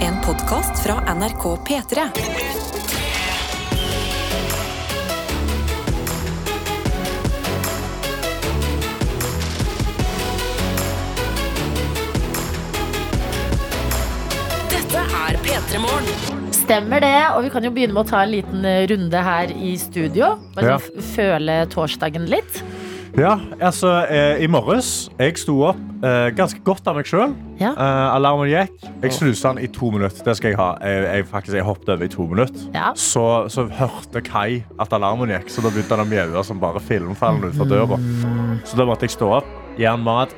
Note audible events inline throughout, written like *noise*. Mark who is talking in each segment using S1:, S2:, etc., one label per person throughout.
S1: En podkast fra NRK P3. Dette er P3 Morgen.
S2: Stemmer det. Og vi kan jo begynne med å ta en liten eh, runde her i studio. Bare
S3: Ja.
S2: sånn f- føle torsdagen litt.
S3: Ja, altså eh, I morges jeg sto opp eh, ganske godt av meg sjøl.
S2: Ja.
S3: Eh, alarmen gikk. Jeg snuste den i to minutter. Det skal jeg ha. Jeg, jeg, faktisk, jeg hoppet over i to minutter.
S2: Ja.
S3: Så, så hørte Kai at alarmen gikk, så da begynte han å mjaue som bare filmfallen utenfor døra. Så da måtte jeg stå opp, gjøre mat,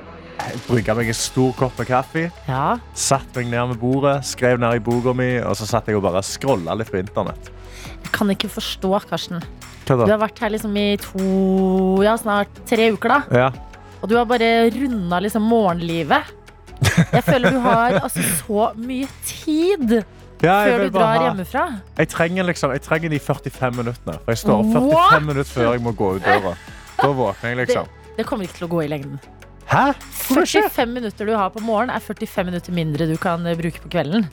S3: brygge meg en stor kopp med kaffe.
S2: Ja.
S3: Satt meg ned ved bordet, skrev ned i boka mi, og så satt jeg og bare scrolla litt på internett.
S2: Jeg kan ikke forstå, Karsten.
S3: Hva
S2: Du
S3: da?
S2: har vært her liksom i to Ja, snart tre uker, da.
S3: Ja.
S2: Og du har bare runda liksom morgenlivet. Jeg føler du
S3: *laughs*
S2: har altså så mye tid
S3: Ja, jeg
S2: før
S3: vil
S2: du
S3: bare
S2: drar
S3: ha-
S2: hjemmefra.
S3: Jeg trenger, liksom, jeg trenger de 45 minuttene. For jeg står opp 45
S2: What?
S3: minutter før jeg må gå ut døra. Da våkner jeg, liksom.
S2: Det kommer ikke til å gå i lengden.
S3: Hæ? Hvorfor ikke?
S2: 45 minutter du har på morgenen, er 45 minutter mindre du kan eh, bruke på kvelden.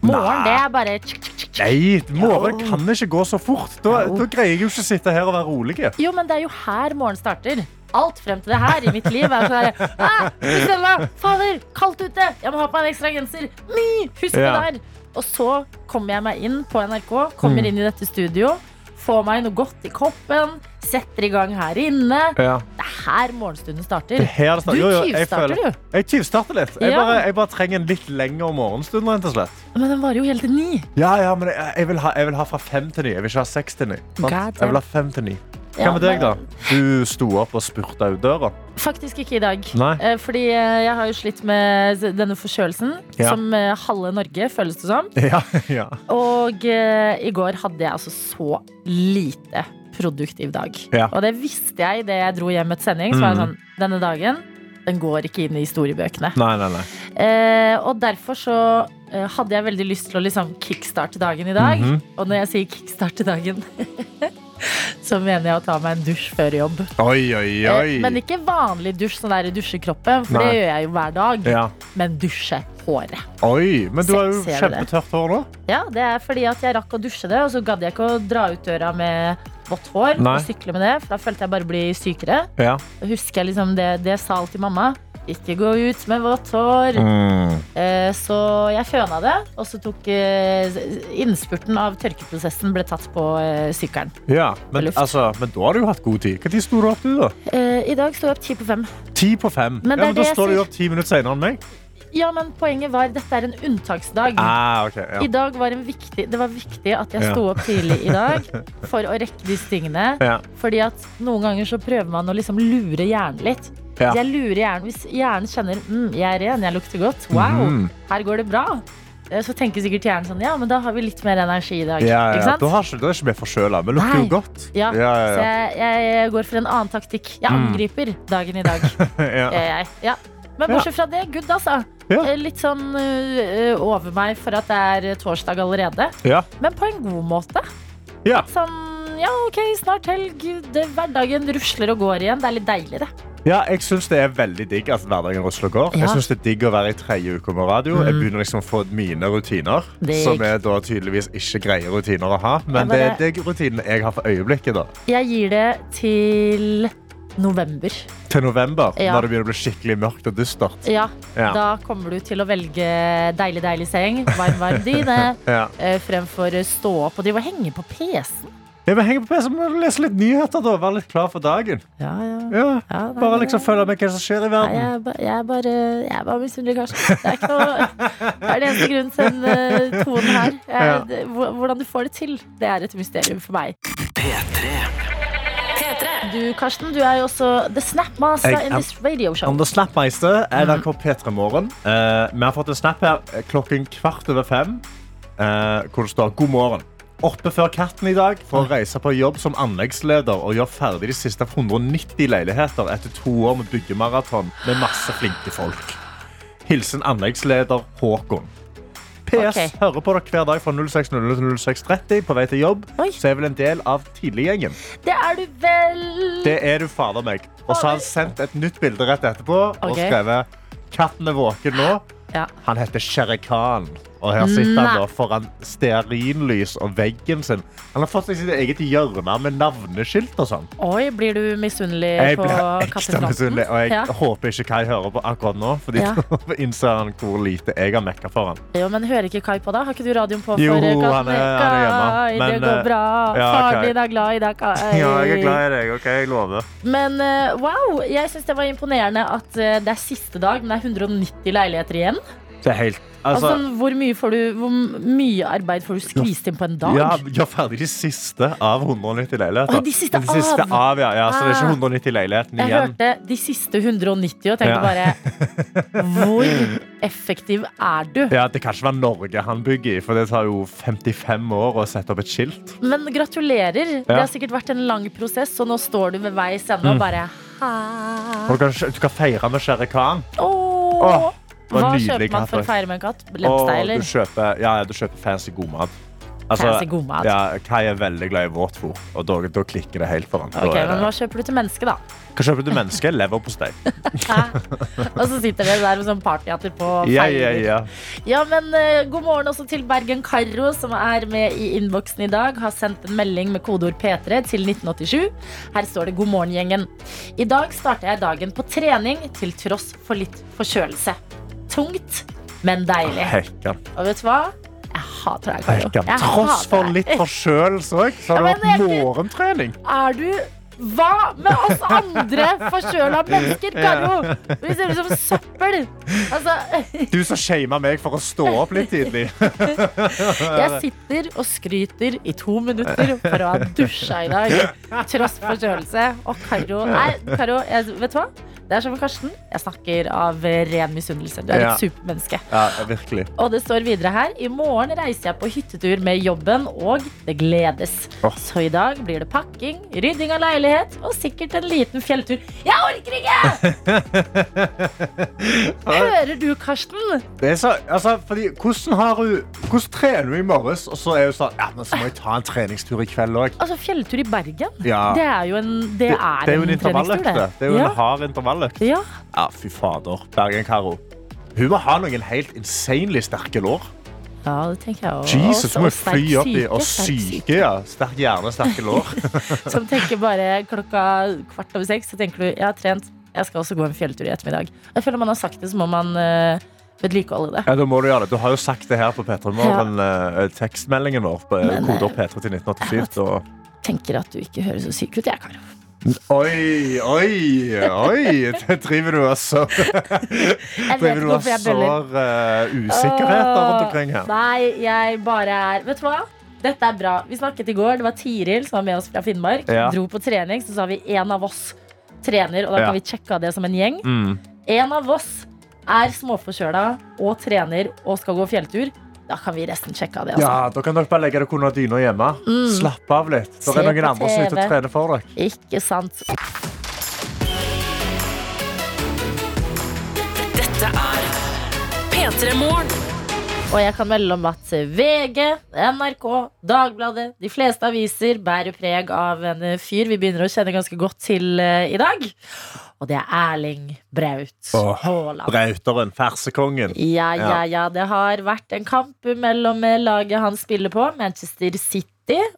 S2: Morgen,
S3: Nei.
S2: det er bare tsk, tsk, tsk, tsk.
S3: Nei, morgenen kan ikke gå så fort. Da,
S2: Jo.
S3: da greier jeg jo ikke å sitte her og være rolig.
S2: Jo, men det er jo her morgen starter. Alt frem til det her i mitt liv er sånn her ah, Stella, Fader, kaldt ute! Jeg må ha på meg en ekstra genser! Mi, husk
S3: Ja.
S2: det der! Og så kommer jeg meg inn på NRK,
S3: Mm.
S2: kommer inn i dette studio, får meg noe godt i koppen, setter i gang her inne. Det er her morgenstunden
S3: Det
S2: starter.
S3: er her det starter.
S2: Du
S3: Jo, jo, jeg
S2: tyvstarter,
S3: føler-
S2: du.
S3: Jeg tyvstarter litt. Jeg
S2: Ja.
S3: bare, jeg bare trenger en litt lengre morgenstund. rett og slett.
S2: Men den varer jo helt til ni.
S3: Ja, ja, men jeg, jeg, vil ha, jeg vil ha fra fem til ni. Jeg vil ikke ha seks til ni. sant?
S2: God
S3: Jeg vil
S2: damn.
S3: ha fem til ni.
S2: Ja,
S3: Hva med deg, da?
S2: men-
S3: Du sto opp og spurta ut døra.
S2: Faktisk ikke i dag.
S3: Nei.
S2: Eh, Fordi eh, jeg har jo slitt med denne forkjølelsen,
S3: Ja.
S2: som eh, halve Norge føles det som.
S3: *laughs* Ja, ja.
S2: Og eh, i går hadde jeg altså så lite produktiv dag.
S3: Ja. Mm.
S2: Og det visste jeg idet jeg dro hjem etter sending. Så var jeg sånn, denne dagen den går ikke inn i historiebøkene.
S3: Nei, nei, nei.
S2: Eh, og derfor så eh, hadde jeg veldig lyst til å liksom kickstarte dagen i dag.
S3: Mhm.
S2: Og når jeg sier kickstarte dagen, *laughs* så mener jeg å ta meg en dusj før jobb.
S3: Oi, oi,
S2: Eh,
S3: oi.
S2: Men ikke vanlig dusj, sånn der dusjekroppen, for
S3: Nei.
S2: det gjør jeg jo hver dag.
S3: ja.
S2: Men dusje håret.
S3: Oi, men du
S2: Se-
S3: har jo
S2: ser du det?
S3: kjempetørt hår nå.
S2: Ja, det er fordi at jeg rakk å dusje det, og så gadd jeg ikke å dra ut døra med vått hår
S3: Nei.
S2: og sykle med det, for da følte jeg bare bli sykere.
S3: Ja.
S2: Og Husker jeg liksom det, det sa alltid mamma. Ikke gå ut med vått hår.
S3: Mm.
S2: Eh, så jeg føna det, og så tok eh, innspurten av tørkeprosessen ble tatt på eh, sykkelen.
S3: ja
S2: Og
S3: men,
S2: luft.
S3: altså, men da har du jo hatt god tid. Når sto du opp, du, da?
S2: Eh, I dag sto jeg opp ti på fem.
S3: Ti på fem.
S2: Men det er
S3: ja, men da
S2: det jeg
S3: står du
S2: sier.
S3: jo opp ti minutter senere enn meg.
S2: Ja, men poenget var dette er en unntaksdag.
S3: Ah, ok,
S2: Mm. I
S3: ja.
S2: dag var en viktig, Det var viktig at jeg
S3: Ja.
S2: sto opp tidlig i dag
S3: *laughs*
S2: for å rekke disse tingene.
S3: Ja.
S2: Fordi at noen ganger så prøver man å liksom lure hjernen litt.
S3: Ja.
S2: Jeg lurer hjernen Hvis hjernen kjenner mm, jeg er ren, jeg lukter godt, wow,
S3: Mhm.
S2: her går det bra, eh, så tenker sikkert hjernen sånn ja, men da har vi litt mer energi i dag.
S3: Ja, ja.
S2: Ikke sant?
S3: Da, har ikke, da er ikke vi forkjøla. Vi lukter jo
S2: Nei.
S3: godt. *laughs*
S2: Ja,
S3: Ja, ja,
S2: Så jeg, jeg går for en annen taktikk. Jeg
S3: Mm.
S2: angriper dagen i
S3: *laughs*
S2: dag.
S3: ja.
S2: gjør jeg. Ja. Men bortsett fra det, good, altså.
S3: Ja.
S2: Eh, Litt sånn eh, over meg for at det er torsdag allerede.
S3: Ja.
S2: Men på en god måte.
S3: Ja.
S2: Sånn, ja, ok, snart helg. Det, hverdagen rusler og går igjen. Det er litt deilig, det.
S3: ja, jeg syns det er veldig digg at hverdagen rusler og går.
S2: Ja. Mm.
S3: Jeg synes det er digg å være i tredje uke med radio. Jeg begynner liksom å få mine rutiner,
S2: Digg.
S3: som er da tydeligvis ikke greie rutiner å ha. Men det
S2: Jeg bare-
S3: er de rutinene jeg har for øyeblikket. da.
S2: Jeg gir det til november.
S3: Til november,
S2: Ja.
S3: når det begynner å bli skikkelig mørkt og dystert.
S2: Ja,
S3: Ja.
S2: da kommer du til å velge deilig, deilig seng, varm, varm
S3: *laughs*
S2: dyne,
S3: Ja.
S2: eh, fremfor stå opp og drive og henge på PC-en.
S3: Jeg vil henge på PC og lese litt nyheter da, være litt klar for dagen.
S2: Ja, ja.
S3: Ja.
S2: Ja, nei,
S3: Bare
S2: det-
S3: liksom følge med hva som skjer
S2: Nei,
S3: i verden.
S2: jeg, er ba- jeg er bare, jeg er bare misunnelig, Karsten. Det er ikke noe Det er den eneste grunnen til den eh, tonen her. Jeg,
S3: Ja.
S2: det, hvor- hvordan du får det til, det er et mysterium for meg. Du, Karsten, du er jo også the snapmaster
S3: Jeg
S2: in
S3: am-
S2: this radio show.
S3: Anders Snappmeister,
S2: Mhm.
S3: NRK P3 Morgen. Eh, vi har fått en snap her eh, klokken kvart over fem, eh, hvor det står god morgen. Oppe før katten i dag for å reise på jobb som anleggsleder og gjøre ferdig de siste 190 leiligheter etter to år med byggemaraton med masse flinke folk. Hilsen anleggsleder Håkon. PS
S2: Ok.
S3: hører på dere hver dag fra 06.00 til 06.30 på vei til jobb.
S2: Oi.
S3: Så jeg er vel en del av tidliggjengen.
S2: Det er du vel!
S3: Det er du fader meg. Og så har han sendt et nytt bilde rett etterpå og
S2: Ok.
S3: skrevet Katten er våken nå.
S2: Ja.
S3: Han heter Shere Khan. Og her sitter
S2: Nei.
S3: han da foran stearinlys og veggen sin. Han har fått seg sitt eget hjørne med navneskilt og sånn.
S2: Oi, blir du misunnelig
S3: Jeg
S2: på
S3: blir ekstra
S2: kattefronten?
S3: misunnelig, og jeg
S2: Ja.
S3: håper ikke Kai hører på akkurat nå, fordi *laughs*
S2: Ja.
S3: nå innser han hvor lite jeg har mekka for han.
S2: Jo, men hører ikke Kai på da? Har ikke du radioen på?
S3: Jo,
S2: for Kai?
S3: han er- han er hjemme,
S2: Kai,
S3: men,
S2: det går
S3: eh,
S2: bra.
S3: ja,
S2: Faren
S3: Kai.
S2: din er glad i deg, Kai.
S3: i deg. ok, Jeg lover.
S2: Men eh, wow, jeg syns det var imponerende at eh, det er siste dag, men det er 190 leiligheter igjen.
S3: Det er helt
S2: Altså,
S3: altså,
S2: hvor, mye får du, hvor mye arbeid får du skvist inn på en dag?
S3: ja, ja, ferdig de siste av 190 leiligheter.
S2: Å, de siste
S3: Men
S2: av?
S3: ja. ja så det er
S2: Ah.
S3: ikke 190 leiligheten
S2: Jeg
S3: igjen.
S2: hørte de siste 190 og tenkte
S3: Ja.
S2: bare Hvor effektiv er du?
S3: Ja, Det kan ikke være Norge han bygger i, for det tar jo 55 år å sette opp et skilt.
S2: Men gratulerer. Det har sikkert vært en lang prosess, og nå står du ved veis
S3: Mm.
S2: ende og bare Ah.
S3: Og du, kan, du kan feire med Shere Khan.
S2: Åh,
S3: Åh, det var
S2: Hva
S3: nydelig
S2: kjøper man
S3: katt,
S2: for å
S3: faktisk.
S2: feire med en katt?
S3: Og
S2: Lepstein,
S3: du
S2: eller?
S3: kjøper, ja, ja, du kjøper fancy god mat. Altså,
S2: Fancy god mat.
S3: Ja, Kai er veldig glad i våtfôr, og da, da klikker det helt for ham. Da
S2: Ok,
S3: er
S2: men Hva
S3: det-
S2: kjøper du til mennesket,
S3: *laughs*
S2: da?
S3: Hva kjøper du menneske? Leverpostei.
S2: Og så sitter dere der med sånn partyhatter på og
S3: Ja, ja,
S2: feirer.
S3: ja.
S2: Ja, men eh, god morgen også til Bergen Karro, som er med i innboksen i dag. Har sendt en melding med kodeord P3 til 1987. Her står det 'God morgen, gjengen'. I dag starter jeg dagen på trening til tross for litt forkjølelse. Tungt, men deilig.
S3: Hekkan.
S2: Og vet du hva? Jeg hater deg, Karro.
S3: Hekkan.
S2: Jeg
S3: Tross
S2: hater
S3: for
S2: deg.
S3: litt forkjølelse òg, så har
S2: Ja,
S3: du
S2: men
S3: hatt morgentrening.
S2: Er du hva med oss
S3: *laughs*
S2: andre forkjøla mennesker, Karro? Vi ser ut som søppel. Altså *laughs*
S3: Du som shama meg for å stå opp litt tidlig. Eh,
S2: Jeg sitter og skryter i to minutter for å ha dusja i dag. Tross forkjølelse. Og Karo Nei, Karo, jeg, vet du hva? Det er som med Karsten. Jeg snakker av eh, ren misunnelse. Du er
S3: Ja.
S2: et supermenneske.
S3: Ja, virkelig.
S2: Og det står videre her. I morgen reiser jeg på hyttetur med jobben, og det gledes.
S3: Åh.
S2: Så i dag blir det pakking, rydding av leilighet og sikkert en liten fjelltur. Jeg orker ikke!
S3: *laughs*
S2: Hører du, Karsten?
S3: Det er så, altså, fordi, hvordan, har hun, hvordan trener hun i morges, og så er hun sånn ja, men så må jeg ta en treningstur i kveld òg.
S2: Altså, fjelltur i Bergen?
S3: Ja.
S2: Det er jo en Det, er
S3: det er jo
S2: treningstur,
S3: en intervalløkt. Det. Det er jo
S2: Ja.
S3: en hard intervalløkt.
S2: Ja,
S3: Ja, fy fader. Bergen-Karo. Hun må ha noen helt insanely sterke lår.
S2: ja det tenker jeg også.
S3: Jesus, hun må
S2: Og sterk
S3: fly opp i
S2: syke,
S3: og
S2: sterk
S3: syke, ja. Sterk hjerne, sterke
S2: *laughs*
S3: lår.
S2: syke, Som tenker bare klokka kvart over seks, så tenker du jeg har trent, jeg skal også gå en fjelltur i ettermiddag. Jeg føler man har sagt det, så må man eh, vedlikeholde det.
S3: Ja, da må du gjøre det. Du har jo sagt det her på P3 Morgen, eh, tekstmeldingen vår på
S2: Men,
S3: koder
S2: eh,
S3: P3 til 1987. Og...
S2: Tenker at du ikke høres så syk ut, jeg, Karo.
S3: Oi, oi, oi! Det driver du altså
S2: Jeg vet ikke
S3: Driver du og
S2: hvorfor jeg bøller.
S3: sår eh, usikkerheter rundt omkring
S2: Åh,
S3: her.
S2: Nei, jeg bare er Vet du hva? Dette er bra. Vi snakket i går. Det var Tiril som var med oss fra Finnmark.
S3: Ja.
S2: Dro på trening, så sa vi én av oss trener, og da
S3: Ja.
S2: kan vi sjekke av det som en gjeng.
S3: Mm.
S2: En av oss er småforkjøla og trener og skal gå fjelltur. Da kan vi resten sjekke av det. Altså.
S3: Ja, da kan dere bare legge dere under dyna hjemme. Slapp av litt.
S2: Mm.
S3: Det
S2: Se
S3: er noen
S2: på
S3: andre som er ute
S2: TV.
S3: og trener for dere.
S2: Ikke sant?
S1: Dette er P3 Morgen.
S2: Og jeg kan melde om at VG, NRK, Dagbladet, de fleste aviser bærer preg av en eh, fyr vi begynner å kjenne ganske godt til eh, i dag. Og det er Erling Braut
S3: Åh,
S2: Haaland.
S3: Brauteren, fersekongen.
S2: Ja, ja,
S3: Ja.
S2: ja. Det har vært en kamp mellom eh, laget han spiller på, Manchester City,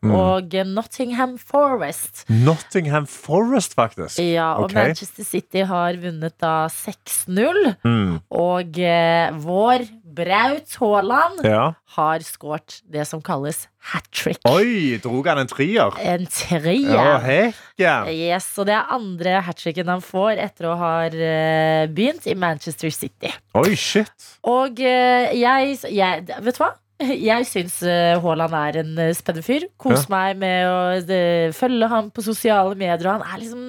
S3: Mm.
S2: og eh, Nottingham Forest.
S3: Nottingham Forest, faktisk.
S2: Ja, og
S3: Ok.
S2: Manchester City har vunnet da 6-0.
S3: Mm.
S2: Og eh, vår Braut Haaland
S3: Ja.
S2: har skåret det som kalles hat trick.
S3: Oi, drog han en trier?
S2: En
S3: Ja,
S2: trier.
S3: hekken.
S2: Yes, og det er andre hat tricken han får etter å ha eh, begynt i Manchester City.
S3: Oi, shit.
S2: Og eh, jeg, jeg Vet du hva? Jeg syns eh, Haaland er en eh, spennende fyr. Kos meg med å eh, følge ham på sosiale medier. Og han er liksom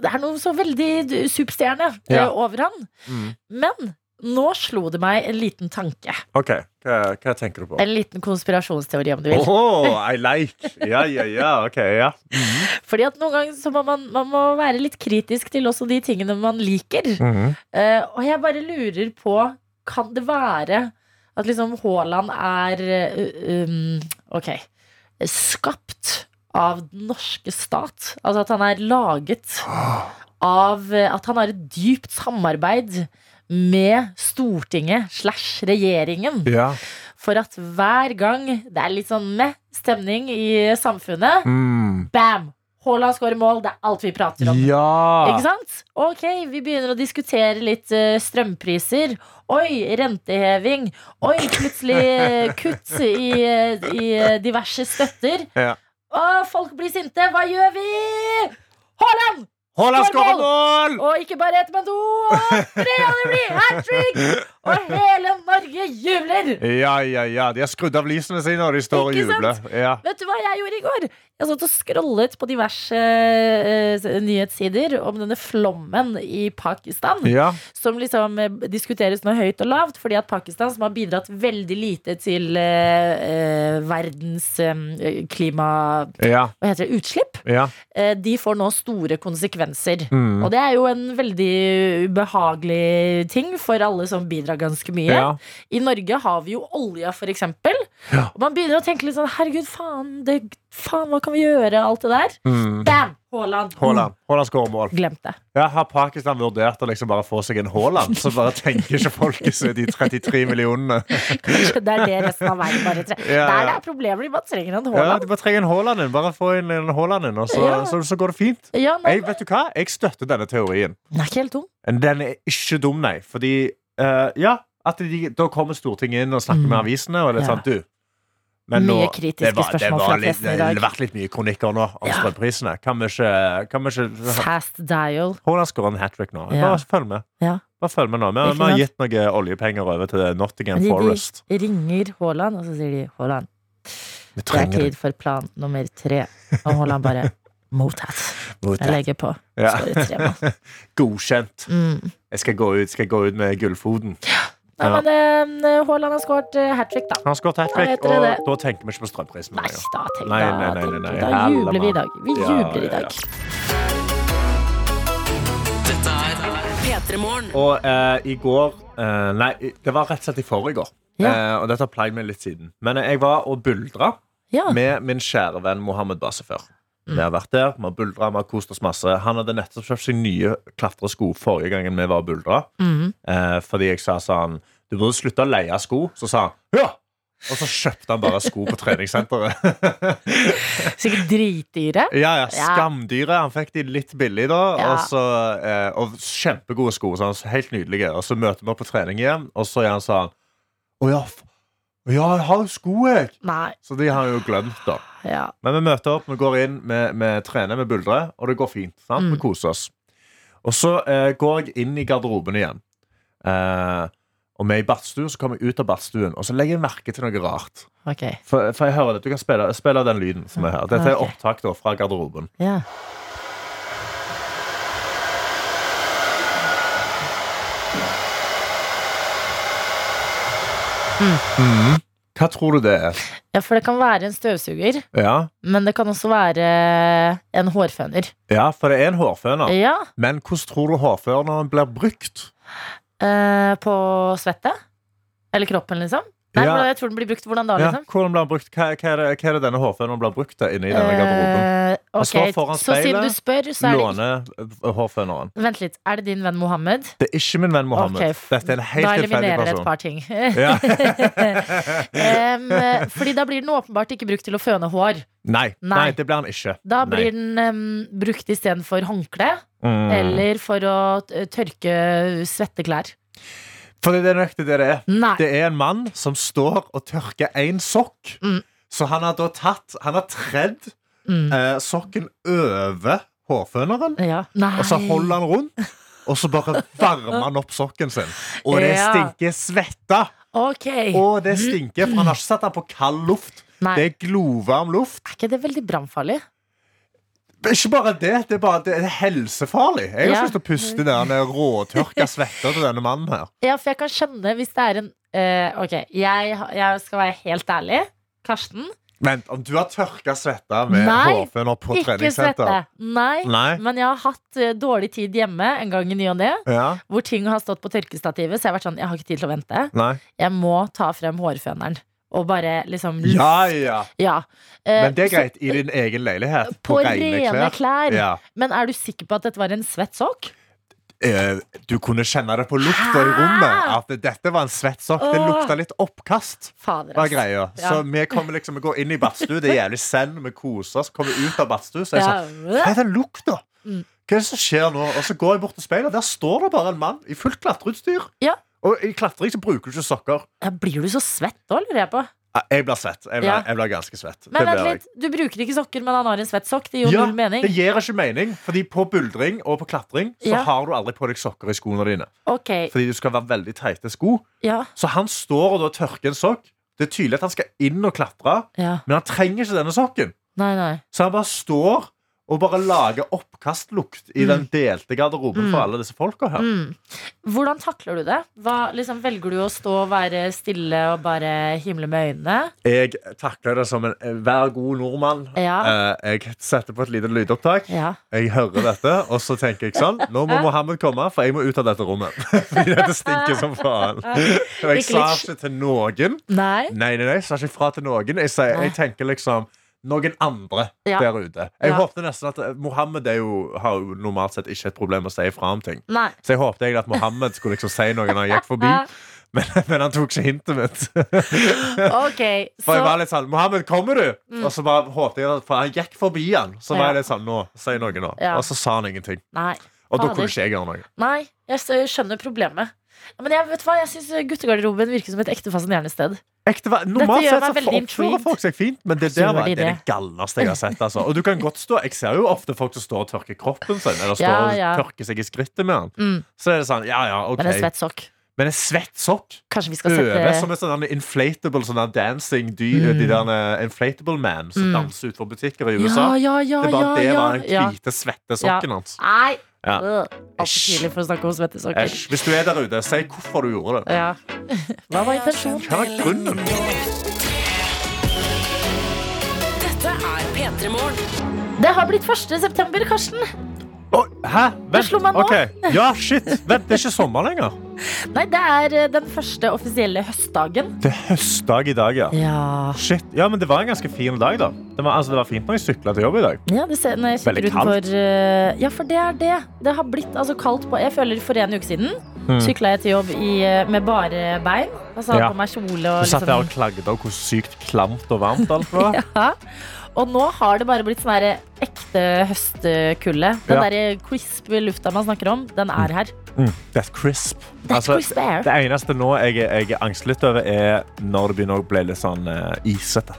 S2: Det er noe så veldig d- superstjerne eh,
S3: Ja.
S2: over han.
S3: Mm.
S2: Men nå slo det meg en liten tanke.
S3: OK, hva, hva tenker du på?
S2: En liten konspirasjonsteori, om du vil.
S3: Oh, I like. Ja, ja, ja. OK, ja.
S2: Fordi at noen ganger så må man, man må være litt kritisk til også de tingene man liker.
S3: Mhm.
S2: Eh, og jeg bare lurer på Kan det være at liksom Haaland er eh, um, Ok Skapt av den norske stat? Altså at han er laget av eh, At han har et dypt samarbeid med Stortinget slash regjeringen.
S3: ja.
S2: For at hver gang det er litt sånn meh stemning i samfunnet,
S3: Mm.
S2: bam! Haaland skårer mål, det er alt vi prater om.
S3: Ja!
S2: Ikke sant? Ok, vi begynner å diskutere litt eh, strømpriser. Oi, renteheving. Oi, plutselig eh,
S3: *laughs*
S2: kutt i, eh, i eh, diverse støtter.
S3: Ja.
S2: Å, folk blir sinte. Hva gjør vi? Haaland!
S3: Haaland
S2: Skårer
S3: skårer mål!
S2: Og ikke bare ett, men to og tre, og det blir hat trick! Og hele Norge jubler!
S3: Ja, ja, ja. De har skrudd av lysene sine, og de står og
S2: Ikke
S3: jubler. Ja.
S2: Vet du hva jeg gjorde i går? Jeg satt og scrollet på diverse eh, s- nyhetssider om denne flommen i Pakistan.
S3: Ja.
S2: Som liksom eh, diskuteres nå høyt og lavt, fordi at Pakistan, som har bidratt veldig lite til eh, eh, verdens eh, klima...
S3: Ja.
S2: Hva heter det? Utslipp?
S3: ja.
S2: Eh, de får nå store konsekvenser.
S3: Mm.
S2: Og det er jo en veldig ubehagelig ting for alle som bidrar ganske mye.
S3: Ja.
S2: I Norge har vi jo olja, for eksempel.
S3: Ja.
S2: Og man begynner å tenke litt sånn Herregud, faen, det, faen hva kan vi gjøre? Alt det der.
S3: Mm.
S2: Bam! Haaland.
S3: Haaland. Haaland skårer mål.
S2: Mm, Glemt det.
S3: Ja, har Pakistan vurdert å liksom bare få seg en Haaland, så bare tenker ikke folket seg de 33 millionene.
S2: Kanskje det er det resten av verden bare trenger.
S3: Ja,
S2: Der
S3: ja.
S2: det er problemer, man trenger en
S3: Ja,
S2: Haaland.
S3: de bare trenger en Haaland inn. Bare få inn en Haaland inn, og så,
S2: Ja.
S3: så, så går det fint.
S2: Ja, nei,
S3: Jeg, vet du hva? Jeg støtter denne teorien.
S2: den er ikke helt dum.
S3: Den er ikke dum, nei. Fordi eh, ja, at de, da kommer Stortinget inn og snakker med
S2: Mm.
S3: avisene, og det er
S2: Ja.
S3: sant, du.
S2: Mye kritiske
S3: det,
S2: spørsmål fra
S3: var litt,
S2: pressen i
S3: det
S2: dag.
S3: har vært litt mye kronikker nå om
S2: Ja.
S3: strømprisene. Kan vi ikke, kan vi ikke
S2: Fast dial.
S3: Haaland skårer en hat trick nå.
S2: Ja.
S3: Bare følg med.
S2: Ja.
S3: Bare følg med nå. Vi,
S2: Ikke
S3: vi
S2: sant?
S3: har gitt noen oljepenger over til Nottingham
S2: Men de- de-
S3: Forest.
S2: Ringer Haaland, og så sier de Haaland,
S3: Vi
S2: det er
S3: trenger
S2: tid for plan nummer tre. Og Haaland bare mottatt. Jeg
S3: det.
S2: legger på.
S3: Ja.
S2: Sorry, tre mann.
S3: Godkjent.
S2: Mm.
S3: Jeg skal gå ut, skal gå ut med gullfoten.
S2: Nei,
S3: Ja.
S2: men eh, Haaland har skåret eh, hat trick, da.
S3: Han har skåret hat
S2: Da
S3: trick,
S2: vet dere
S3: og
S2: det.
S3: da tenker vi ikke på strømprisen.
S2: Nei,
S3: lenger.
S2: da tenk
S3: Nei,
S2: da,
S3: nei, nei, nei,
S2: tenk,
S3: nei.
S2: da
S3: Helle,
S2: jubler vi i
S3: mann.
S2: dag. Vi
S3: Ja,
S2: jubler
S3: ja,
S2: i dag.
S1: P3 Morgen.
S3: Og eh, i går eh, Nei, det var rett og slett i forrige år.
S2: Ja.
S3: Eh, og dette har plaget meg litt siden. Men eh, jeg var og buldra
S2: Ja.
S3: med min kjære venn Mohammed Base før. Vi har vært der, vi har buldra, vi har kost oss masse. Han hadde nettopp kjøpt seg nye klatresko forrige gangen vi var og buldra.
S2: Mhm.
S3: Eh, fordi jeg sa sånn Du burde slutte å leie sko. Så sa han ja! Og så kjøpte han bare sko på treningssenteret.
S2: Sikkert dritdyre.
S3: ja,
S2: Ja.
S3: ja, Skamdyre. Han fikk de litt billig, da.
S2: Ja.
S3: Og, så, eh, og kjempegode sko. Så han, helt nydelige. Og så møter vi opp på trening igjen, og så er han sånn Å ja, f- å ja, jeg har jo sko, jeg!
S2: Nei,
S3: Så de har han jo glemt, da.
S2: ja.
S3: Men vi møter opp, vi går inn, vi, vi trener, vi buldrer, og det går fint. sant?
S2: Mm.
S3: Vi koser oss. Og så eh, går jeg inn i garderoben igjen. Eh, og vi er i badstue, så kommer jeg ut av badstuen, og så legger jeg merke til noe rart.
S2: Ok.
S3: For, for jeg hører det, Du kan spille, spille den lyden som er her. Dette er
S2: Ok.
S3: opptak da, fra garderoben.
S2: Ja.
S3: Hva tror du det er?
S2: ja, for det kan være en støvsuger,
S3: Ja,
S2: men det kan også være en hårføner.
S3: ja for det er en hårføner.
S2: Ja,
S3: Men hvordan tror du hårføneren blir brukt?
S2: eh, på svettet. Eller kroppen, liksom. Nei,
S3: Ja.
S2: hvordan- jeg tror den blir brukt hvordan da,
S3: Ja,
S2: liksom.
S3: hvordan blir den brukt? Hva, hva, er det, hva er det denne hårføneren blir brukt til inne i denne garderoben?
S2: Eh,
S3: Han
S2: ok,
S3: står foran
S2: så siden du
S3: speilet,
S2: spør, så er det
S3: Låner eh, hårføneren.
S2: Vent litt, er det din venn Mohammed?
S3: Det er ikke min venn Mohammed.
S2: Ok, f-
S3: Dette er en helt
S2: da
S3: tilfeldig
S2: eliminerer jeg et
S3: person.
S2: par
S3: *laughs*
S2: ting. *laughs*
S3: Ja.
S2: Em, fordi da blir den åpenbart ikke brukt til å føne hår.
S3: Nei, nei.
S2: Nei.
S3: det blir han ikke.
S2: Da
S3: Nei.
S2: blir den em, brukt istedenfor håndkle
S3: Mm.
S2: eller for å t- tørke svette klær.
S3: For det er nøyaktig det det er.
S2: Nei.
S3: Det er en mann som står og tørker én sokk.
S2: Mm.
S3: Så han har da tatt Han har tredd
S2: Mm.
S3: eh, sokken over hårføneren,
S2: Ja. Nei.
S3: og så holder han rundt. Og så
S2: *laughs*
S3: bare varmer han opp sokken sin. Og det
S2: Ja.
S3: stinker svette!
S2: Ok.
S3: Og det stinker, for han har ikke satt den på kald luft.
S2: Nei.
S3: Det er glovarm luft.
S2: Er ikke det veldig brannfarlig?
S3: Det er Ikke bare det, det er, bare, det er helsefarlig. Jeg har
S2: Ja.
S3: ikke lyst til å puste den der råtørka svetta til denne mannen her.
S2: Ja, for jeg kan skjønne hvis det er en eh, Ok, jeg, ha- jeg skal være helt ærlig. Karsten,
S3: Vent, om du har tørka svetta med
S2: Nei,
S3: hårføner på
S2: ikke svette.
S3: treningssenter?
S2: Nei.
S3: Nei.
S2: Men jeg har hatt eh, dårlig tid hjemme en gang i ny og ne,
S3: Ja.
S2: hvor ting har stått på tørkestativet, så jeg har vært sånn, jeg har ikke tid til å vente.
S3: Nei.
S2: jeg må ta frem hårføneren og bare liksom
S3: Ja, ja.
S2: Ja. Eh,
S3: Men det er
S2: så-
S3: greit. I din egen leilighet.
S2: På rene klær.
S3: Ja.
S2: Men er du sikker på at dette var en svett sokk?
S3: eh, du kunne kjenne det på lukta i rommet. At dette var en svett sokk. Det
S2: Åh.
S3: lukta litt oppkast.
S2: Fader,
S3: Var
S2: ass.
S3: greia. Så
S2: Ja.
S3: vi kommer liksom, vi går inn i badstue, det er jævlig send, vi koser oss, kommer ut av badstue, så er jeg
S2: Ja. Mm.
S3: sånn Hva er den lukta? Hva er det som skjer nå? Og så går jeg bort til speilet, der står det bare en mann i fullt klatreutstyr.
S2: Ja.
S3: Og i klatring så bruker du ikke sokker.
S2: Ja, Blir du så svett da, lurer jeg på?
S3: Ja, Jeg blir svett. Jeg blir,
S2: Ja.
S3: jeg blir ganske svett.
S2: Men
S3: det
S2: vent
S3: blir jeg.
S2: litt, Du bruker ikke sokker, men han har en svett sokk. Det gir jo
S3: Ja,
S2: null mening.
S3: det gir ikke mening, fordi på buldring og på klatring så
S2: Ja.
S3: har du aldri på deg sokker i skoene dine.
S2: Ok,
S3: Fordi du skal være veldig teite sko.
S2: ja,
S3: Så han står og da tørker en sokk. Det er tydelig at han skal inn og klatre,
S2: ja.
S3: men han trenger ikke denne sokken.
S2: Nei, nei.
S3: Så han bare står og bare lager oppkastlukt i den delte garderoben for alle disse folka her.
S2: Mm. Hvordan takler du det? Hva, liksom, velger du å stå og være stille og bare himle med øynene?
S3: Jeg takler det som en eh, vær god nordmann.
S2: Ja.
S3: Eh, Jeg setter på et lite lydopptak.
S2: Ja.
S3: Jeg hører dette, og så tenker jeg sånn
S2: *laughs*
S3: Nå må Mohammed komme, for jeg må ut av dette rommet. *laughs* Fordi dette stinker
S2: *laughs*
S3: som faen. Og jeg
S2: Ikke
S3: sa
S2: litt-
S3: ikke til noen.
S2: Nei?
S3: Nei, nei, nei, jeg sa ikke fra til noen. Jeg, sier, jeg tenker liksom noen andre
S2: Ja.
S3: der ute. Jeg
S2: Ja.
S3: håpte nesten at eh, Mohammed er jo, har jo normalt sett ikke et problem med å si ifra om ting.
S2: Nei.
S3: Så jeg håpte egentlig at Mohammed skulle liksom si noe når han
S2: *laughs*
S3: gikk forbi. Men, men han tok ikke hintet mitt. *laughs*
S2: Ok,
S3: For
S2: så Mm.
S3: jeg var litt sånn 'Mohammed, kommer du?' Og så bare håpte jeg at For han gikk forbi han. Så var
S2: Ja.
S3: jeg litt sånn 'Nå, si noe nå.'
S2: Ja.
S3: Og så sa han ingenting.
S2: Nei.
S3: Og da
S2: Fader.
S3: kunne ikke jeg gjøre noe.
S2: Nei, jeg s- skjønner problemet. Men jeg vet du hva, jeg syns guttegarderoben virker som et ekte fascinerende sted.
S3: Ekte, va-
S2: gjør
S3: normalt sett
S2: meg
S3: så
S2: veldig
S3: oppfører
S2: intrigued.
S3: folk seg fint, men det
S2: Gjør
S3: der var
S2: de
S3: det, er
S2: det?
S3: det galleste jeg har sett. Altså. Og du kan godt stå Jeg ser jo ofte folk som står og tørker kroppen sin, eller står
S2: Ja,
S3: og
S2: ja.
S3: tørker seg i skrittet med han.
S2: Mm.
S3: Så er det sånn Ja, ja, OK.
S2: Men en svett sokk.
S3: Men en svett sokk
S2: Kanskje vi skal
S3: øve som
S2: sette
S3: et sånn inflatable sånn der dancing dyr,
S2: Mm.
S3: de der eh, inflatable man som
S2: Mm.
S3: danser utenfor butikker i USA.
S2: Ja, ja, ja,
S3: det var,
S2: ja,
S3: det
S2: ja,
S3: var den
S2: ja.
S3: hvite, svette sokken hans.
S2: Nei!
S3: Ja.
S2: Øh, Altfor tidlig for å snakke om svettesokker.
S3: Æsj. Hvis du er der ute, si hvorfor du gjorde det.
S2: Ja. *laughs* Hva var intensjonen?
S3: Hva er grunnen?
S1: Dette er P3 Morgen.
S2: Det har blitt 1. september, Karsten.
S3: Å, hæ? Vent.
S2: slo meg nå.
S3: ok. Ja, shit. Vent, det er ikke sommer lenger.
S2: Nei, det er eh, den første offisielle høstdagen.
S3: Det er høstdag i dag, ja.
S2: Ja,
S3: Shit. Ja, men det var en ganske fin dag, da. Det var, altså, det var fint når jeg sykla til jobb i dag.
S2: det ser, når jeg kikker
S3: Veldig kaldt.
S2: utenfor eh, Ja, for det er det. Det har blitt altså, kaldt på Jeg føler for en uke siden mm. sykla jeg til jobb i, eh, med bare bein. Altså
S3: Hmm. Ja.
S2: på meg kjole og
S3: Så satt jeg og
S2: liksom
S3: klagde over hvor sykt klamt og varmt alt var.
S2: *laughs* ja. Og nå har det bare blitt sånn her ekte høstkulde. Den
S3: Ja.
S2: der crisp lufta man snakker om, den er her.
S3: Mm. That's crisp.
S2: That's crisp air.
S3: Altså, Det eneste nå jeg, er- jeg er angstelig over, er når det begynner å bli litt sånn eh, isete.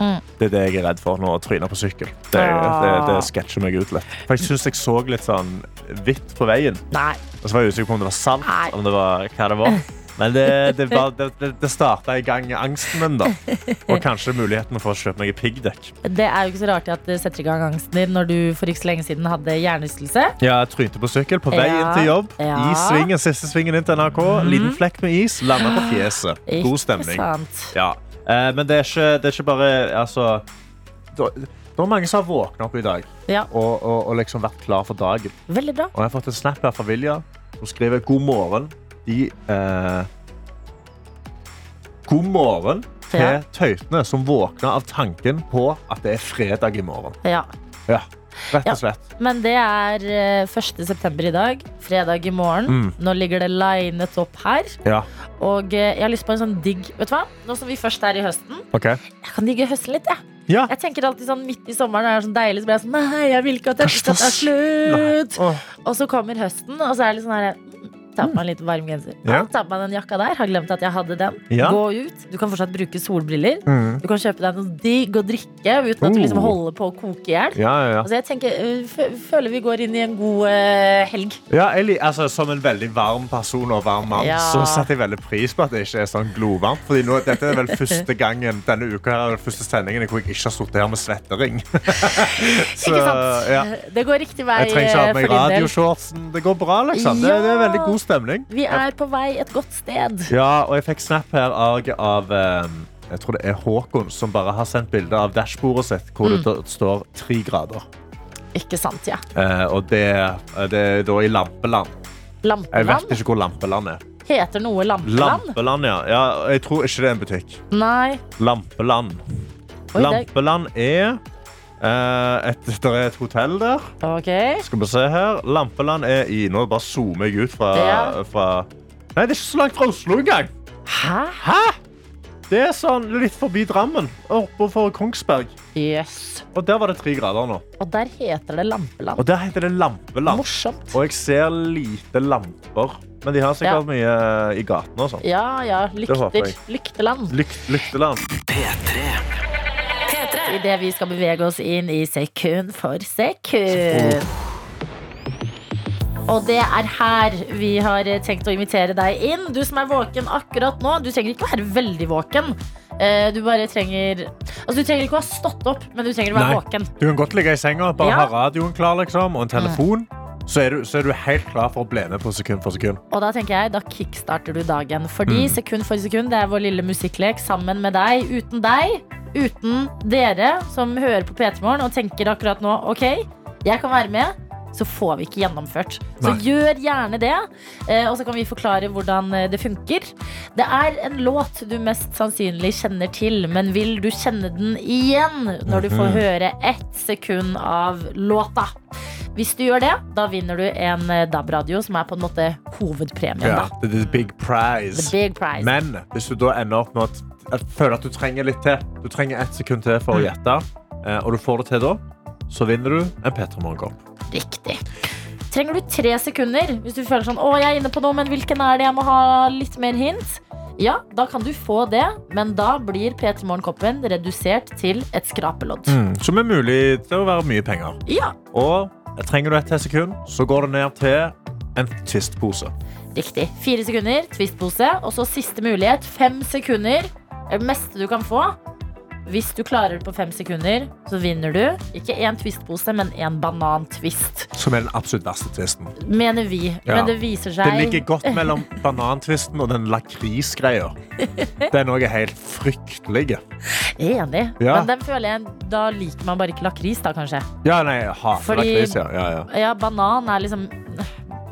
S2: Mm.
S3: Det er det jeg er redd for nå, å tryne på sykkel. Det, det,
S2: Ah.
S3: det sketsjer meg ut litt. For jeg syns jeg så litt sånn hvitt på veien.
S2: Nei.
S3: Og så var jeg usikker på om det var salt,
S2: Nei.
S3: om det var hva det var. Men det, det, var- det, det, det starta i gang angsten min, da.
S2: *laughs*
S3: Og kanskje muligheten for å kjøpe meg piggdekk.
S2: Det er jo ikke så rart at det setter i gang angsten din når du for ikke så lenge siden hadde hjernerystelse.
S3: Ja, jeg trynte på sykkel på vei
S2: Ja,
S3: inn til jobb.
S2: ja. Mhm.
S3: I svingen, siste svingen inn til NRK. Liten flekk med is, landa på fjeset. God
S2: Ikke
S3: stemning.
S2: sant.
S3: Ja. Eh, men det er ikke, det er ikke bare altså, det, det er mange som har våkna opp i dag
S2: Ja,
S3: og, og, og liksom vært klar for dagen.
S2: veldig bra.
S3: Og jeg har fått en snap her fra Vilja. Hun skriver 'God morgen'. De eh, God morgen
S2: Ja.
S3: til tøytene som våkna av tanken på at det er fredag i morgen.
S2: Ja.
S3: Ja, Rett
S2: Ja.
S3: og slett.
S2: Men det er eh, 1. september i dag, fredag i morgen.
S3: Mm.
S2: Nå ligger det linet opp her.
S3: Ja.
S2: Og eh, jeg har lyst på en sånn digg Vet du hva? Nå som vi først er i høsten,
S3: OK.
S2: jeg kan digge høsten litt. Jeg,
S3: Ja.
S2: jeg tenker alltid sånn midt i sommeren når det er sånn deilig, så blir jeg sånn Nei, jeg vil ikke at dette skal ta slutt.
S3: Åh.
S2: Og så kommer høsten, og så er det litt sånn her mm, Ta på meg en litt varm genser.
S3: Ja.
S2: Ja. Ta på meg den jakka der. Har glemt at jeg hadde den.
S3: Ja.
S2: Gå ut. Du kan fortsatt bruke solbriller.
S3: Mm.
S2: Du kan kjøpe deg noe digg å drikke uten at du liksom
S3: Oh.
S2: holder på å koke i hjel.
S3: Ja, ja, ja.
S2: Altså, jeg tenker, øh, fø- føler vi går inn i en god øh, helg.
S3: Ja, jeg, lik- altså, som en veldig varm person og varm mann
S2: Ja.
S3: Så setter jeg veldig pris på at det ikke er sånn glovarmt. Fordi nå, dette er vel første gangen denne uka her, den første sendingen hvor jeg ikke har sittet her med svettering. *laughs* Så,
S2: ikke sant?
S3: ja.
S2: Det går riktig vei
S3: Jeg trenger ikke ha
S2: øh,
S3: på meg
S2: for din del.
S3: radioshortsen. Det går bra, liksom. Det, det er veldig god stemning.
S2: Vi er på vei et godt sted.
S3: Ja, og jeg fikk snap her av, av eh, jeg tror det er Håkon, som bare har sendt bilde av dashbordet sitt hvor
S2: Mm.
S3: det t- står tre grader.
S2: Ikke sant, ja.
S3: Eh, og det, eh, det er da i Lampeland. Jeg vet
S2: Lampeland?
S3: ikke hvor Lampeland er.
S2: Heter noe Lampeland?
S3: Lampeland, ja. ja. Jeg tror ikke det er en butikk.
S2: Nei.
S3: Lampeland.
S2: Oi, det,
S3: Lampeland er Eh, et, der er et hotell der.
S2: Ok.
S3: Skal vi se her. Lampeland er i Nå bare zoomer jeg ut fra,
S2: Ja.
S3: fra Nei, det er ikke så langt fra Oslo engang.
S2: Hæ?
S3: Det er sånn litt forbi Drammen. Oppe for Kongsberg.
S2: Jøss.
S3: Og der var det tre grader nå.
S2: Og der heter det Lampeland.
S3: Og der heter det Lampeland.
S2: Morsomt.
S3: Og jeg ser lite lamper. Men de har sikkert mye i gatene og sånn.
S2: Ja, ja.
S3: håper
S2: Lykter.
S3: jeg.
S2: Lykteland.
S3: Lykt, lykteland.
S1: P3.
S2: Idet vi skal bevege oss inn i sekund for sekund. Og det er her vi har tenkt å invitere deg inn. Du som er våken akkurat nå. Du trenger ikke å være veldig våken. Eh, Du bare trenger Altså, du trenger ikke å ha stått opp, men du trenger å være
S3: Nei.
S2: våken.
S3: Du kan godt ligge i senga, bare
S2: Ja. Mm.
S3: ha radioen klar liksom, og en telefon. Så er, du, så er du helt klar for å bli med på sekund for sekund.
S2: Og da tenker jeg, da kickstarter du dagen. Fordi sekund for sekund, det er vår lille musikklek sammen med deg. Uten deg, uten dere som hører på P3 Morgen og tenker akkurat nå OK, jeg kan være med. Så får vi ikke gjennomført. Så
S3: Nei.
S2: gjør gjerne det. eh, Og så kan vi forklare hvordan eh, det funker. Det er en låt du mest sannsynlig kjenner til, men vil du kjenne den igjen når du får høre ett sekund av låta? Hvis du gjør det, da vinner du en eh, DAB-radio, som er på en måte hovedpremien.
S3: Ja,
S2: da.
S3: det er the big
S2: The
S3: prize.
S2: big prize.
S3: Men hvis du da ender opp med at, at føler at du trenger litt til, du trenger ett sekund til for å gjette, eh, og du får det til da, så vinner du en Petra Morgenkopp.
S2: Riktig. Trenger du tre sekunder hvis du føler sånn Å, jeg er inne på noe, men hvilken er det? Jeg må ha litt mer hint. Ja, da kan du få det, men da blir P3 Morgenkoppen redusert til et skrapelodd.
S3: Som er mulig til å være mye penger.
S2: Ja,
S3: Og eh, trenger du ett til sekund, så går det ned til en tvistpose.
S2: riktig. Fire sekunder, twistpose, og så siste mulighet. Fem sekunder. Det er det meste du kan få. Hvis du klarer det på fem sekunder, så vinner du ikke én twistpose, men en banantvist.
S3: Som er den absolutt verste tvisten.
S2: Mener vi.
S3: Ja.
S2: Men det viser seg
S3: Det ligger godt mellom banantvisten og den lakrisgreia. Den òg er helt fryktelig.
S2: Jeg er Enig.
S3: Ja.
S2: Men den føler jeg Da liker man bare ikke lakris, da, kanskje.
S3: Ja, nei, jeg hater
S2: Fordi-
S3: lakris. Ja, ja, ja.
S2: Ja, banan er liksom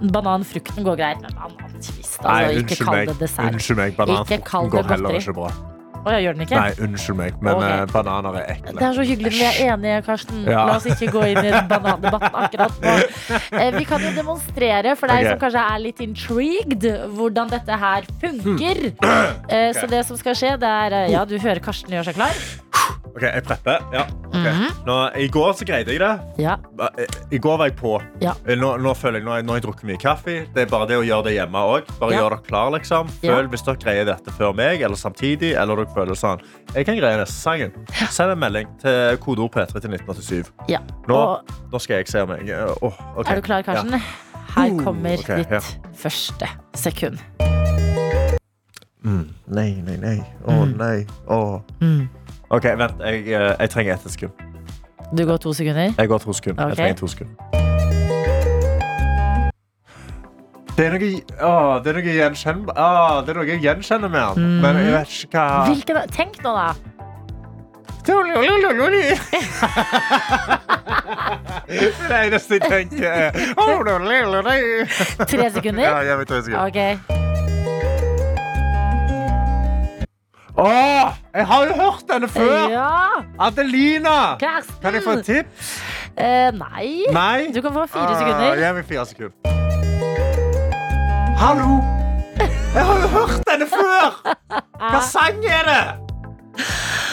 S2: Bananfrukten går greit, men banantvist altså,
S3: Nei,
S2: Ikke
S3: unnskyld
S2: kall
S3: meg.
S2: det dessert.
S3: Unnskyld meg.
S2: kall
S3: Bananfrukten
S2: det
S3: går heller
S2: godteri.
S3: ikke bra.
S2: Å, ja, gjør den ikke?
S3: Nei, unnskyld meg, men
S2: Ok.
S3: eh, bananer er
S2: Det
S3: ekle.
S2: er så hyggelig når vi er enige, Karsten.
S3: Ja.
S2: La oss ikke gå inn i
S3: *laughs*
S2: en banandebatt akkurat nå. Eh, Vi kan jo demonstrere for deg
S3: Ok.
S2: som kanskje er litt intrigued, hvordan dette her funker.
S3: Hmm.
S2: Eh, Så det som skal skje, det er eh, Ja, du hører Karsten gjør seg klar.
S3: OK, jeg prepper. Ja. ok.
S2: Mhm.
S3: Nå, I går så greide jeg det. eh,
S2: Ja.
S3: I går var jeg på. Eh,
S2: Ja.
S3: Nå, nå føler jeg, nå har jeg- nå har jeg drukket mye kaffe. Det er bare det å gjøre det hjemme òg. Bare
S2: Ja.
S3: gjør dere klar, liksom.
S2: Ja.
S3: Føl hvis dere greier dette før meg, eller samtidig, eller dere føler sånn Jeg kan greie neste sangen. Send en melding til kodeord P3 til 1987.
S2: ja.
S3: Nå,
S2: Og
S3: nå skal jeg se om jeg eh, åh, ok.
S2: er du klar,
S3: Ja.
S2: Karsten? Her
S3: Uh,
S2: kommer
S3: ok, ja.
S2: ditt første sekund.
S3: Nei, nei, nei. Å, nei. Å.
S2: Mm.
S3: OK, vent. Jeg, eh, jeg trenger ett sekund.
S2: Du går to sekunder.
S3: Jeg går to sekunder.
S2: Ok.
S3: Jeg trenger to sekunder. Det er noe, åh, det er noe, gjenkjenn, åh, det er noe jeg gjenkjenner med han.
S2: Mhm.
S3: Men jeg vet ikke hva
S2: Hvilken, tenk nå, da.
S3: Det eneste jeg tenker, er åh, det er lille deg.
S2: Tre
S3: *laughs* Ja,
S2: sekunder?
S3: jeg vet hva jeg skal gjøre.
S2: Ok.
S3: Åh, jeg har jo hørt denne før!
S2: Ja!
S3: Adelina!
S2: Karsten!
S3: Kan jeg få et tips?
S2: Eh, nei.
S3: Nei?
S2: Du kan få fire
S3: Ah,
S2: sekunder.
S3: Gi meg fire sekunder. Hallo! Jeg har jo hørt denne før! Hva sang er det?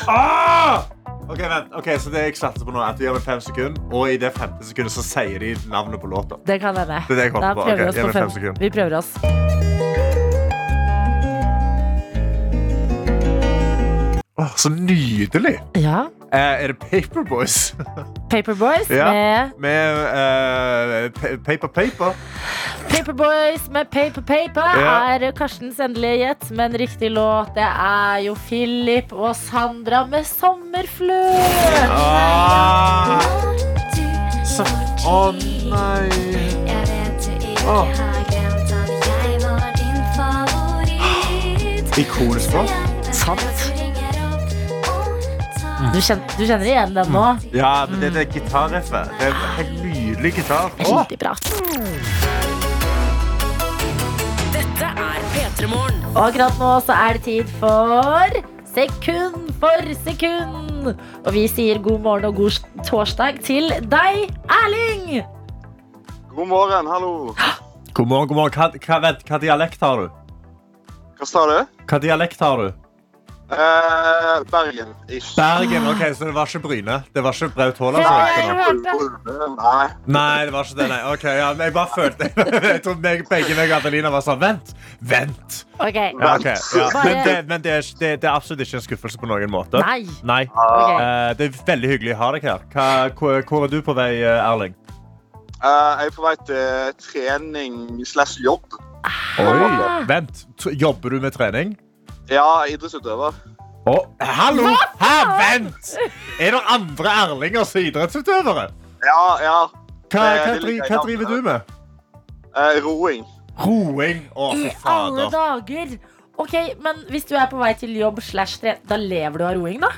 S3: Ah! Ok, vent. Ok, så det jeg satser på nå er at Du gir meg fem sekunder, og i det femte sekundet så sier de navnet på låta.
S2: Det kan hende.
S3: Det er det jeg
S2: Da
S3: kommer på.
S2: prøver
S3: Ok,
S2: vi oss
S3: gi
S2: på
S3: meg fem
S2: fem.
S3: sekunder.
S2: Vi prøver oss.
S3: Åh, så nydelig!
S2: Ja.
S3: Eh, er det Paperboys?
S2: Paperboys
S3: Ja.
S2: med
S3: *laughs* Med eh, pa- Paper Paper?
S2: Paperboys med Paper Paper
S3: Ja.
S2: er Karstens endelige gjett, men riktig låt det er jo Philip og Sandra med Sommerflørt.
S3: Ah! Så, å nei! Ikonisk låt.
S2: Du kjenner, du kjenner igjen den nå?
S3: Ja, men det, det er gitarriffet. Det er en helt nydelig gitar. Åh!
S2: Veldig bra.
S1: Dette er P3 Morgen.
S2: Og akkurat nå så er det tid for Sekund for sekund. morgen. Og vi sier god morgen og god torsdag til deg, Erling!
S4: God morgen, hallo.
S3: God morgen, god morgen. Hva, hva, vent, hva dialekt har du?
S4: Hva sa du?
S3: Hva dialekt har du?
S4: Eh, Bergen. Ish. Eh,
S3: Bergen. ok, Så det var ikke Bryne? Det var ikke Braut Haaland? som
S2: Nei.
S3: røkte nå?
S4: Nei.
S3: Nei, det var ikke det. nei. Ok, ja, men Jeg bare følte *laughs* Jeg tror meg, begge meg og Adelina var sånn Vent! Vent!
S2: Ok.
S3: Ja, ok, ja.
S2: Bare-
S3: Men, det, men det, er, ikke- det, det er absolutt ikke en skuffelse på noen måte.
S2: Nei.
S3: Nei.
S2: Ok.
S3: Eh, det er veldig hyggelig å ha deg her. Hva, hvor, hvor er du på vei, eh, Erling?
S4: Eh, jeg er på vei til trening slash jobb.
S3: Oi, Vent, t- jobber du med trening?
S4: Ja, idrettsutøver.
S3: Å, hallo! Her, vent! Er det andre Erlinger som er idrettsutøvere?
S4: Ja, ja.
S3: Hva,
S4: Eh,
S3: hva,
S4: det
S3: dri, hva
S4: liker jeg ikke.
S3: driver du med?
S4: Eh, roing.
S3: Roing. Å,
S2: I
S3: fy
S2: alle
S3: fader.
S2: dager! Ok, Men hvis du er på vei til jobb slash tre, da lever du av roing, da?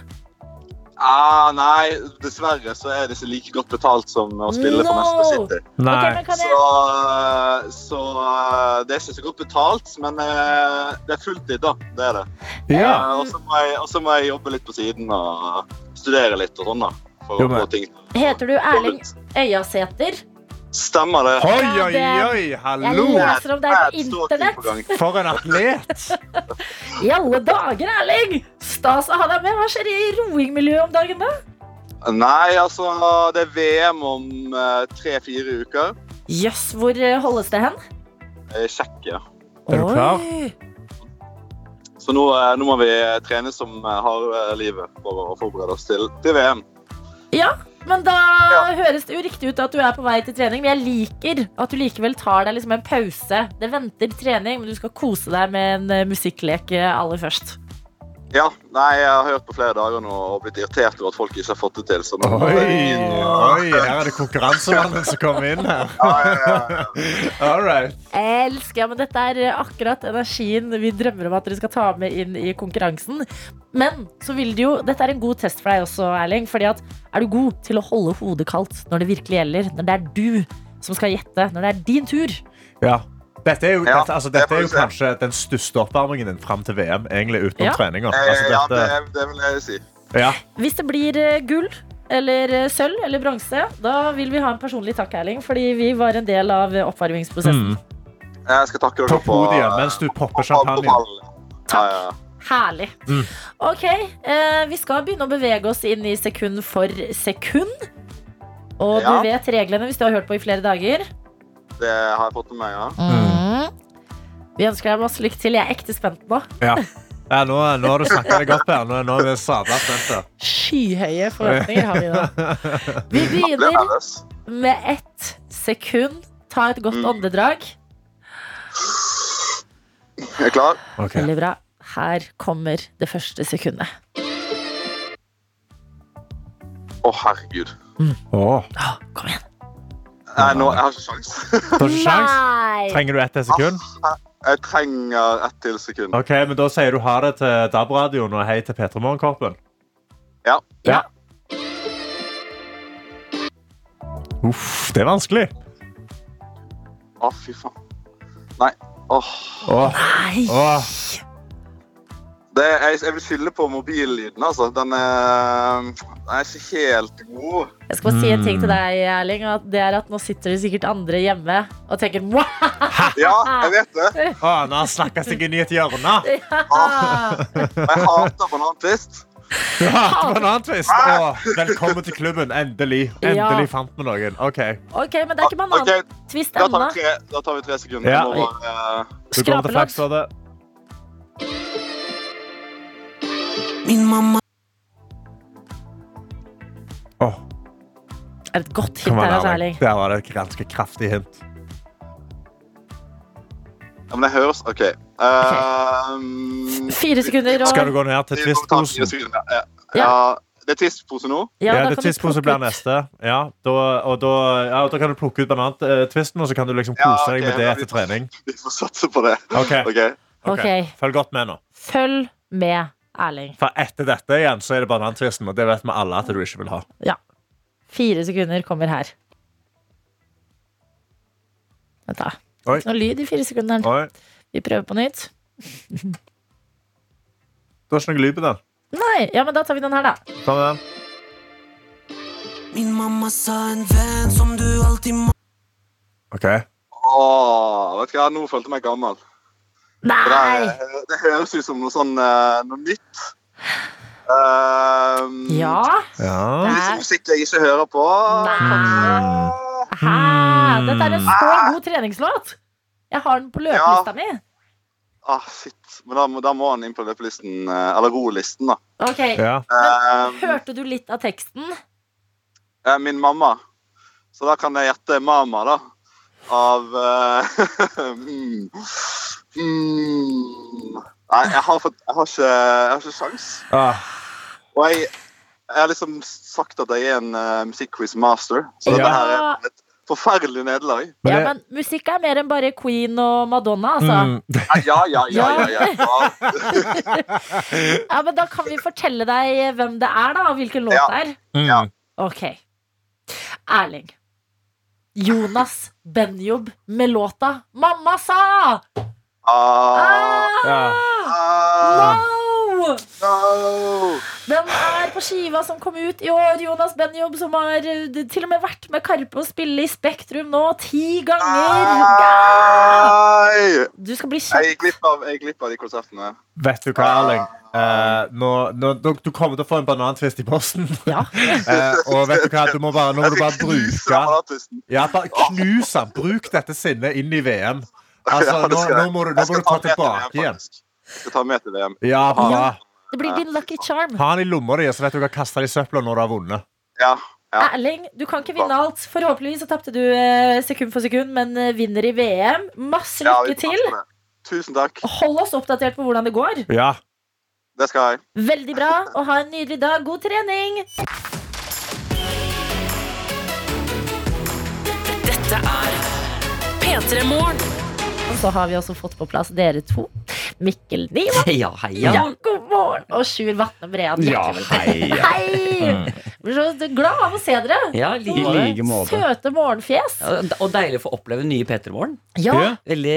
S4: Ah, nei, dessverre så er det ikke like godt betalt som å spille for
S2: No!
S4: Manchester City.
S2: Ok, men kan
S4: Så,
S2: jeg...
S4: eh, så eh, det er ikke så godt betalt, men eh, det er fulltid, da. Det er det.
S3: Ja.
S4: Eh, og så må, jeg- og så må jeg jobbe litt på siden og studere litt og sånn, da.
S3: Jo,
S4: For å
S3: men-
S4: få ting
S2: Heter du Erling Øyasæter?
S4: Stemmer det.
S3: Oi, oi, oi.
S2: Jeg
S3: Hallo.
S2: leser om deg
S4: Her
S2: på
S4: står ting på
S2: internett!
S4: gang.
S3: For en atlet.
S2: I alle dager, Erling! Stas å ha deg med. Hva skjer i roingmiljøet om dagen, da?
S4: Nei, altså, det er VM om eh, tre-fire uker.
S2: Jøss, hvor eh, holdes det hen?
S4: Eh, Tsjekkia.
S3: Er du klar?
S2: Oi.
S4: Så nå, eh, nå må vi trene som eh, har eh, livet for å forberede oss til, til VM.
S2: Men da
S4: Ja.
S2: høres det jo riktig ut at du er på vei til trening, men jeg liker at du likevel tar deg liksom en pause. Det venter trening, men du skal kose deg med en eh, musikklek eh, aller først.
S4: Ja, nei, jeg har hørt på flere dager nå og blitt irritert over at folk ikke har fått det til. Så nå
S3: Oi, oi, her er det konkurransemannen som kom inn her.
S4: Ja, ja, ja.
S3: All right.
S2: Elsker, ja, men dette er eh, akkurat energien vi drømmer om at dere skal ta med inn i konkurransen. Men så vil det jo, dette er en god test for deg også, Erling. fordi at er du god til å holde hodet kaldt når det virkelig gjelder? Når det er du som skal gjette, når det er din tur?
S3: Ja. Dette er jo,
S4: Ja,
S3: dette, altså, dette
S4: det
S3: er jo
S4: får vi
S3: kanskje den største oppvarmingen din fram til VM, egentlig, utenom
S2: Ja.
S3: treninga.
S4: Eh,
S3: *laughs* Altså,
S4: ja det,
S3: dette-
S4: det vil jeg si.
S3: ja.
S2: Hvis det blir eh, gull eller eh, sølv eller bronse, da vil vi ha en personlig takk, Erling, fordi vi var en del av eh, oppvarmingsprosessen.
S3: Mm.
S4: Jeg skal
S3: På
S4: takke dere for
S3: podiet mens du popper champagne.
S2: Takk.
S4: Ja, ja.
S2: Herlig.
S3: Mm.
S2: Ok, eh, vi skal begynne å bevege oss inn i sekund for sekund. Og
S4: Ja.
S2: du vet reglene hvis du har hørt på i flere dager.
S4: Det har jeg fått med meg, ja.
S3: Mm.
S2: Vi ønsker deg masse lykke til. Jeg er ekte spent nå.
S3: Ja. Ja, nå, nå har du snakka deg opp her. Nå, nå er vi sadla spent. her.
S2: Skyhøye forventninger har vi nå.
S3: *laughs*
S2: Vi
S4: Jeg ble
S2: begynner
S4: nervøs.
S2: med ett sekund. Ta et godt
S4: Mm.
S2: åndedrag.
S4: Er du klar?
S3: Ok.
S2: Veldig bra. Her kommer det første sekundet.
S4: Å, herregud.
S3: Åh,
S2: Å, kom igjen.
S4: Nei, nå, jeg har ikke sjans. *laughs*
S3: du har ikke sjans?
S2: Nei!
S3: Trenger du ett sekund?
S4: Jeg trenger ett til sekund.
S3: Ok, men Da sier du ha det til DAB-radioen og hei til P3 Morgenkorpen.
S4: Ja.
S2: Ja.
S3: Uff, det er vanskelig.
S4: Å, fy faen. Nei. Åh.
S3: Åh,
S2: Nei.
S3: åh.
S4: Det, jeg, jeg vil skylde på mobillyden, altså. Den er, den er ikke helt god.
S2: Jeg skal bare si en ting til deg, Erling. At det er at nå sitter det sikkert andre hjemme og tenker Mwah!
S4: Ja, jeg vet det.
S3: åh nå snakka jeg inn i et
S2: *laughs*
S3: hjørne. Ah.
S4: Og jeg hater banantvist.
S3: Du hørte på en annen twist. Åh, velkommen til klubben. Endelig. Endelig
S2: Ja.
S3: fant vi noen. Ok,
S2: Ok, men det er ikke
S4: Ok,
S2: banantvist
S4: da tar,
S2: ennå.
S4: vi tre, da tar vi tre sekunder.
S3: Ja.
S4: Jeg må bare, eh,
S3: Du kommer til
S2: Skrapelodd.
S3: Flaksrådet.
S1: Min mamma.
S3: Åh,
S2: Er et godt hint
S3: kom
S2: her,
S3: an,
S2: altså,
S3: Erling.
S2: Erling.
S3: Der var det et ganske kraftig hint.
S4: ja, men det høres OK. Um,
S2: Fire sekunder og
S3: Skal du gå ned til
S4: Twist-posen.
S3: twistposen?
S4: Ja.
S2: Ja.
S4: ja, det er Twist-pose nå.
S2: Ja,
S3: Ja,
S2: da
S3: det
S2: kan du
S3: twistposen
S2: plukke
S3: blir
S2: ut.
S3: neste. Ja, da, og da, ja, og da kan du plukke ut banantvisten, og så kan du liksom
S4: Ja,
S3: kose deg
S4: ok,
S3: med det
S4: ja, vi
S3: etter
S4: får-
S3: trening.
S4: Vi får satse på det.
S3: Ok,
S4: OK.
S3: ok.
S2: Ok.
S3: Følg godt med nå.
S2: Følg med, Erling.
S3: For etter dette igjen så er det banantvisten, og det vet vi alle at du ikke vil ha.
S2: Fire sekunder kommer her. Vent, da. Det
S3: Oi.
S2: er Ikke noe lyd i fire sekunder.
S3: Oi,
S2: Vi prøver på nytt.
S3: du har ikke noe lyd på den.
S2: Nei, Nei, ja, men da tar vi den her, da.
S3: Ta med den.
S1: Min mamma sa en venn som du alltid må
S3: OK.
S4: Åh, vet du hva, nå følte jeg meg gammel. For
S2: Nei!
S4: Det, er- det høres ut som noe sånn eh, noe nytt. Um,
S2: Ja.
S3: Ja.
S4: Litt sånn musikk jeg ikke hører på.
S2: Nei. Hæ? Dette er en så
S3: Mm.
S2: god treningslåt! Jeg har den på løpelista mi.
S4: Ah, shit. Men da, må- da må han inn på løpelisten, eh, eller rolisten, da.
S2: Ok,
S3: ja.
S4: Um,
S2: Hørte du litt av teksten?
S4: eh, min mamma. Så da kan jeg gjette 'Mama', da. Av eh, *laughs* mm, mm. Nei, jeg har, fått, jeg har ikke, jeg har ikke sjans.
S3: Ah,
S4: Og jeg, jeg har liksom sagt at jeg er en uh, musikkquiz-master, så
S3: Ja.
S4: dette her er et forferdelig nederlag.
S3: men
S2: Ja,
S3: det-
S2: men musikk er mer enn bare Queen og Madonna, altså.
S3: Mm,
S4: Ja, ja, ja, ja, ja, ja.
S2: Ja, men Da kan vi fortelle deg hvem det er, da, og hvilken låt
S4: Ja.
S2: det er.
S3: mm.
S2: Ok. Erling. Jonas Benjob med låta 'Mamma sa'!
S4: Ah,
S2: Ah,
S3: Ja.
S4: ah,
S2: no!
S4: no.
S2: Den er på skiva som kom ut i år. Jonas Benjob som har eh, til og med vært med Karpe og spille i Spektrum nå ti
S4: Ah!
S2: ganger.
S4: Nei!
S2: Du skal bli
S4: Jeg
S2: kjent.
S4: gikk glipp av, jeg gikk glipp av de konsertene.
S3: Vet du hva, Erling? Eh, nå, nå, du- du kommer til å få en banantvist i posten. *laughs*
S2: Ja.
S3: Eh, og vet du hva, du må bare, nå må du bare bruke
S4: Banatisten.
S3: Ja, bare knus den. Bruk dette sinnet inn i VM. Altså,
S4: *laughs* Ja, det
S3: nå,
S4: skal jeg.
S3: nå må du, nå
S4: Jeg
S3: må
S4: skal
S3: du ta
S4: med til
S3: tilbake
S4: VM,
S3: igjen.
S4: faktisk. Jeg skal ta med til VM.
S3: Ja, bra.
S2: Det blir din lucky charm.
S3: Ha den i lomma di, så vet du hva kaste den i søpla når du har vunnet.
S4: Ja. ja.
S2: Erling, du kan ikke vinne alt. Forhåpentligvis så tapte du eh, sekund for sekund, men eh, vinner i VM. Masse
S4: ja
S2: lykke
S4: vi får
S2: til.
S4: passe på det. Tusen takk.
S2: Hold oss oppdatert på hvordan det går.
S3: Ja.
S4: Det skal jeg.
S2: Veldig bra, og ha en nydelig dag. God trening!
S5: Dette er P3 Morgen.
S2: Og så har vi også fått på plass dere to. Mikkel Niva.
S6: *laughs*
S7: *laughs*
S2: Ja.
S7: Ja, heia.
S2: god morgen! Og Sjur Vatne Brean.
S7: Ja,
S2: hjertelig velkommen.
S7: heia.
S2: Hei! Blir så glad av å se dere. Sånn
S7: Ja, i like, like måte.
S2: Søte morgenfjes.
S7: Ja, og deilig å få oppleve den nye P3 Morgen.
S2: Ja,
S7: Veldig,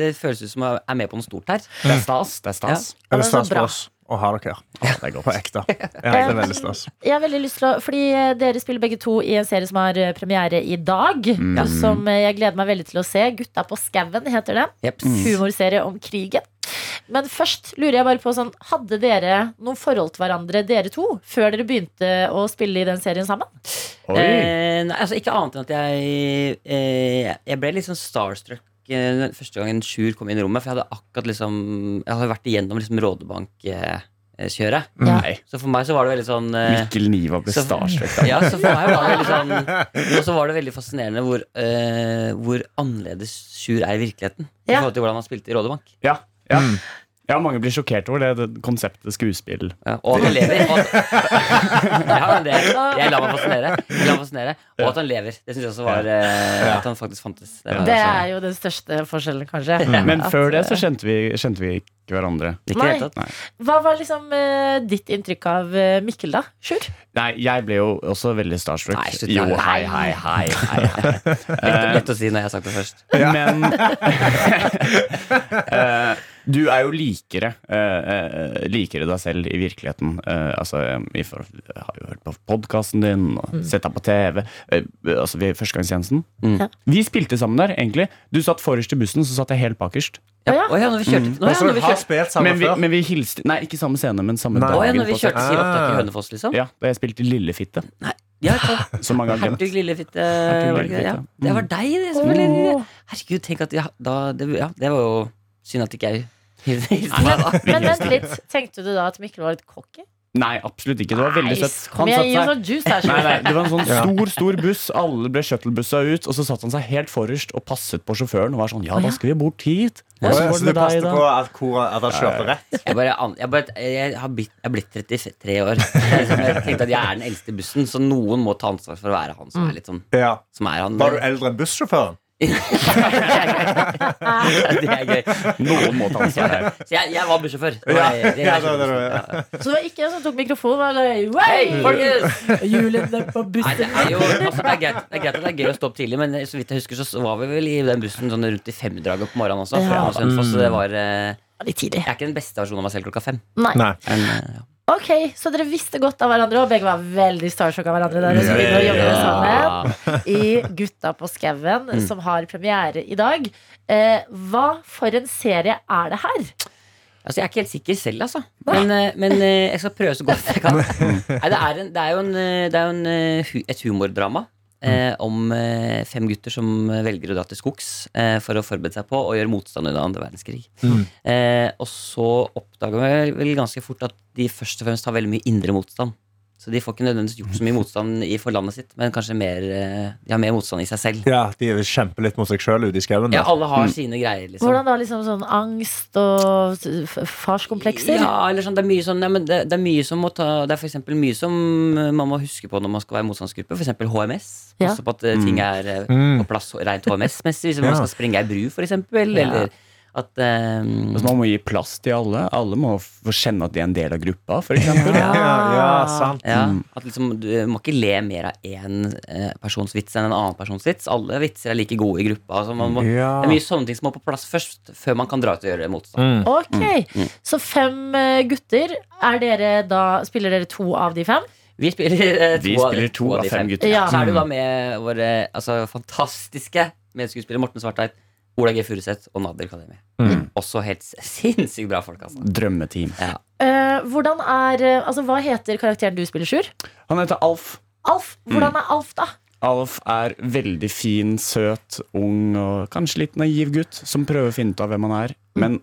S7: det føles ut som jeg er med på noe stort her.
S6: Det er stas. Det er stas.
S3: Er
S2: men
S3: det
S2: så
S3: stas
S2: bra.
S3: for oss å ha dere her? Det går på ekte. Ja, det er veldig stas.
S2: Jeg har veldig lyst til å Fordi eh, dere spiller begge to i en serie som har eh, premiere i dag.
S7: Mm.
S2: og Som eh, jeg gleder meg veldig til å se. 'Gutta på skauen' heter den.
S7: Jeps.
S6: Mm.
S2: Humorserie om krigen. Men først lurer jeg bare på sånn Hadde dere noen forhold til hverandre, dere to, før dere begynte å spille i den serien sammen?
S7: Eh, nei, altså Ikke annet enn at jeg eh, Jeg ble litt sånn starstruck eh, den første gangen Sjur kom inn i rommet. For jeg hadde akkurat liksom Jeg hadde vært igjennom liksom Rådebank-kjøret.
S2: Ja.
S7: Så for meg så var det veldig sånn eh,
S6: Mm. Mikkel Niva ble
S7: så-
S6: starstruck. da.
S7: Ja, så for meg var det veldig
S6: *laughs*
S7: sånn Og så var det veldig fascinerende hvor, eh, hvor annerledes Sjur er i virkeligheten. I
S2: Ja.
S7: forhold til hvordan han spilte i Rådebank.
S6: Ja, ja.
S7: Mm.
S6: ja, mange blir sjokkert over det, det konseptet skuespill.
S7: Ja, og at han lever. Og at, ja, men det, jeg lar meg fascinere. Jeg lar meg fascinere. Og at han lever. Det syns jeg også var eh, At han faktisk fantes. Det var
S2: Det
S7: sånn-
S2: er jo den største forskjellen, kanskje.
S6: Men
S2: At,
S6: før det
S2: eh,
S6: så kjente vi, kjente vi ikke hverandre.
S7: Ikke i det hele
S2: Nei.
S7: tatt.
S2: Hva var liksom eh, ditt inntrykk av eh, Mikkel, da? Sjur?
S6: Nei, jeg ble jo også veldig starstruck.
S7: Nei, slutt,
S6: jo,
S7: nei.
S6: hei, hei, hei. hei.
S7: *laughs*
S6: Eh,
S7: Lett, lett å si når jeg har sagt det først.
S6: Men *laughs* Eh, du er jo likere eh, eh, Likere deg selv i virkeligheten. Eh, altså, eh, vi får- jeg har jo hørt på podkasten din og sett deg på TV. Eh, altså, vi, Førstegangstjenesten.
S7: Mm.
S6: Vi spilte sammen der, egentlig. Du satt forrest i bussen, så satt jeg helt bakerst.
S7: Ja.
S2: Å, ja.
S7: Å ja, når vi kjørte Å ja,
S3: Altså,
S7: når
S3: du
S7: vi
S3: har
S7: kjørte,
S3: spilt
S6: Men
S3: sammen
S6: vi,
S3: før.
S6: men vi hilste Nei, ikke samme scene, men samme
S3: Nei.
S6: dagen.
S7: Å, ja, når vi
S6: på
S7: kjørte
S6: sett.
S7: sier opptak i Hønefoss, liksom.
S6: Ja, da jeg spilte Lillefitte.
S7: Ja, ikke sant?
S6: Som mange har glemt.
S7: Hertug Lillefitte. var
S6: Hertug
S7: det ikke det? Ja.
S6: Lillefitte.
S7: Det var deg, det. Som var Lillefitte. Herregud, tenk at ja, da, det, ja, det var jo synd at ikke jeg *laughs* hilste deg da.
S2: Men vent litt, tenkte du da at Mikkel var litt cocky?
S6: Nei, absolutt ikke. Det var veldig søtt.
S2: Nice.
S6: Han
S2: Men jeg gir
S6: satte seg
S2: sånn juice her,
S6: Nei,
S2: Sjur.
S6: nei, Det var en sånn stor stor buss. Alle ble shuttlebussa ut. Og så satte han seg helt forrest og passet på sjåføren. Og var sånn, ja, da skal vi bort hit
S3: Ja,
S6: Og så
S3: Så du
S6: var det med deg
S3: passet på
S6: da
S3: at koret at han kjørte rett?
S7: Jeg, bare, an- jeg, bare, jeg, har blitt, jeg er blitt 33 år. Jeg, liksom, jeg tenkte at jeg er den eldste i bussen, så noen må ta ansvar for å være han som er litt sånn
S3: Ja.
S7: Som er han.
S3: Var du eldre enn bussjåføren?
S7: *laughs* det er gøy.
S6: Noen må ta ansvar her.
S7: Så jeg, jeg var bussjåfør. Det
S3: Ja,
S7: var jeg- jeg
S3: ja,
S7: er
S3: det var det du var, ja.
S7: bussjåfør. Ja.
S2: Så det var ikke en som tok mikrofonen? var det, «Wey!»
S7: Hei, folkens!
S2: *laughs* Hjulene på
S7: Nei, det
S2: bussen.
S7: er jo altså, det, er greit, det er greit at det er gøy å stå opp tidlig, men så vidt jeg husker, så var vi vel i den bussen sånn rundt i femdraget på morgenen også.
S2: Ja.
S3: Mm.
S7: Fra Sønfoss, så det var eh,
S2: Litt tidlig.
S7: Jeg er ikke den beste versjonen av meg selv klokka fem.
S2: Nei.
S3: Nei.
S7: Men, eh, ja.
S2: Ok, Så dere visste godt av hverandre, og begge var veldig starstruck av hverandre. Der, og så begynner å jobbe sammen i Gutta på skauen,
S7: Mm.
S2: som har premiere i dag. Eh, hva for en serie er det her?
S7: Altså, jeg er ikke helt sikker selv, altså. Men, eh, men eh, jeg skal prøve så godt jeg kan. Nei, det, er en, det er jo en, eh, det er jo en, eh, hu- et humordrama eh, om eh, fem gutter som velger å dra til skogs eh, for å forberede seg på å gjøre motstand under andre verdenskrig. Eh, og så oppdager vi vel- vel ganske fort at de først og fremst har veldig mye indre motstand. Så de får ikke nødvendigvis gjort så mye motstand i for landet sitt, men kanskje mer, eh, de har mer motstand i seg selv.
S3: Ja, De kjemper litt mot seg sjøl ute i skauen.
S7: Ja,
S3: der.
S7: alle har sine greier, liksom.
S2: Hvordan da liksom sånn angst og f- farskomplekser?
S7: Ja, eller sånn, det er mye sånn, nei, men det, det er mye som må ta Det er for eksempel mye som eh, man må huske på når man skal være motstandsgruppe. For eksempel HMS.
S2: Ja.
S7: Passe på at eh, ting er eh,
S3: Mm.
S7: på plass rent HMS-messig. Hvis man
S3: Ja.
S7: skal springe ei bru, for eksempel.
S2: Ja.
S7: Eller at eh,
S6: Altså, man må gi plass til alle. Alle må få kjenne at de er en del av gruppa, for eksempel.
S3: *laughs* Ja, ja, sant.
S7: ja, at liksom, Du må ikke le mer av én eh, persons vits enn en annen persons vits. Alle vitser er like gode i gruppa. Altså, man må,
S3: Ja.
S7: Det er mye sånne ting som må på plass først, før man kan dra ut og gjøre
S3: Mm.
S7: motstand.
S2: Ok,
S7: Mm.
S2: Så fem eh, gutter. Er dere da, spiller dere to av de fem?
S7: Vi spiller, eh,
S6: Vi
S7: av-
S6: spiller to av fem gutter.
S2: Ja.
S7: Så er det jo da med våre altså, fantastiske medskuespillere Morten Svartveit, Ola G. Furuseth og Nader Kademi. Også helt s- sinnssykt bra folk, altså.
S6: Drømmeteam.
S7: Ja.
S2: Eh, hvordan er, eh, altså Hva heter karakteren du spiller, Sjur?
S6: Han heter Alf.
S2: Alf.
S7: Mm.
S2: Hvordan er Alf, da?
S6: Alf er veldig fin, søt, ung og kanskje litt naiv gutt som prøver å finne ut av hvem han er.
S7: Mm.
S6: Men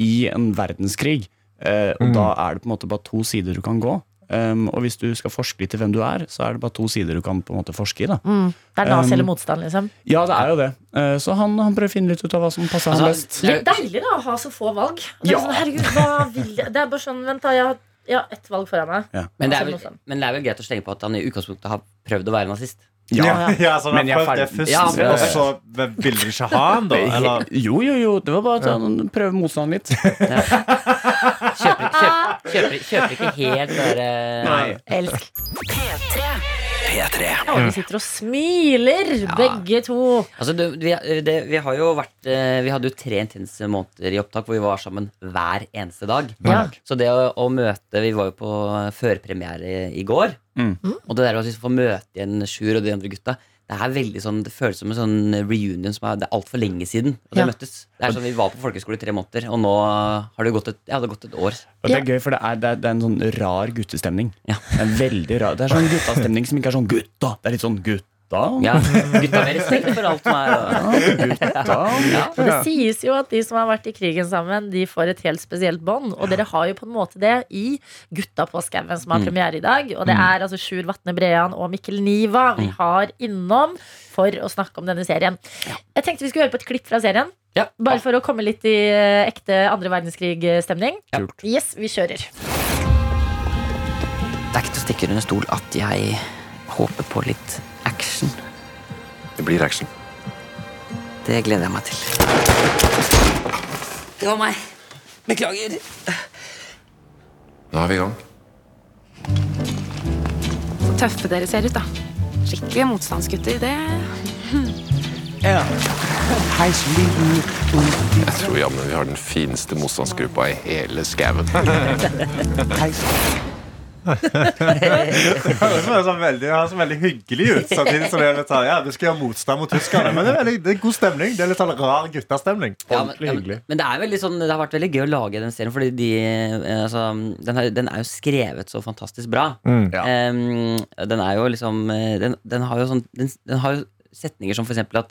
S6: i en verdenskrig, eh, og da er det på en måte bare to sider du kan gå. Um, og hvis du skal forske litt i hvem du er, så er det bare to sider du kan på en måte forske i. da
S2: Det er nazi
S6: Um,
S2: eller motstand, liksom.
S6: Ja, det er jo det. Eh, så han, han prøver å finne litt ut av hva som passer ham
S7: Altså,
S6: best.
S7: det er-
S2: Litt deilig da, å ha så få valg. Det er,
S6: Ja.
S2: sånn, herregud, hva vil jeg? det er bare sånn, vent da, jeg har, jeg har ett valg foran meg.
S7: men, det er
S2: Altså,
S7: vel,
S2: motstand.
S7: men det er vel greit å slenge på at han i utgangspunktet har prøvd å være nazist.
S3: Ja, ja, så han
S6: Men jeg
S3: har
S6: er
S3: prøvd det
S6: ferdig.
S3: først,
S7: Ja, men-
S3: og så ville de ikke ha
S6: *laughs*
S3: han, da? Eller?
S6: Jo, jo, jo. Det var bare at han prøver
S7: *laughs*
S6: motstanden litt.
S7: Kjøper, kjøper, kjøper, kjøper ikke helt eh, bare
S6: Nei.
S2: Elsk. Ja, vi sitter og smiler, begge to.
S7: Altså, du, vi, det, vi har jo vært eh, Vi hadde jo tre intense måneder i opptak hvor vi var sammen hver eneste dag.
S2: Ja.
S7: Så det å, å møte Vi var jo på førpremiere i, i går.
S6: Mm.
S7: Og det der å liksom få møte igjen Sjur og de andre gutta det er veldig sånn, det føles som en sånn reunion som er, det er altfor lenge siden. Og det
S2: Ja.
S7: møttes. Det er sånn, Vi var på folkeskole i tre måneder, og nå har det gått et, ja, det har gått et år.
S6: Og det er gøy, for det er, det er, det er en sånn rar guttestemning. Det er veldig rar Det er sånn guttastemning som ikke er sånn gutta. Det er litt sånn gutta.
S7: Ja, Gutta har mer respekt for alt som er og,
S6: gutta.
S2: Og det sies jo at de som har vært i krigen sammen, de får et helt spesielt bånd. Og dere har jo på en måte det i Gutta på skauen, som har premiere i dag. Og det er altså Sjur Vatne Brean og Mikkel Niva vi har innom for å snakke om denne serien. Jeg tenkte vi skulle høre på et klipp fra serien.
S7: Ja.
S2: Bare for å komme litt i eh, ekte andre verdenskrig-stemning.
S7: Ja.
S2: Yes, vi kjører.
S7: Det er ikke til å stikke under stol at jeg håper på litt action.
S8: Det blir action.
S7: Det gleder jeg meg til. Det var meg. Beklager.
S8: Nå er vi i gang.
S5: Tøffe dere ser ut, da. Skikkelige motstandsgutter. Det
S8: Jeg tror jammen vi har den fineste motstandsgruppa i hele
S7: *laughs*
S8: skauen.
S3: Det høres sånn veldig, det høres sånn veldig hyggelig ut. Samtidig som det er litt sånn, ja, vi skal gjøre motstand mot tyskerne. Men det er, veldig, det er god stemning. Det er litt sånn rar guttastemning.
S7: Ja, men,
S3: Ordentlig
S7: ja,
S3: hyggelig.
S7: men, men det er veldig sånn Det har vært veldig gøy å lage den serien, Fordi de, eh, altså, den, er, den er jo skrevet så fantastisk bra.
S8: Mm.
S7: Em, den er jo liksom eh, Den, den, har, jo sånn, den, den har jo setninger som for eksempel at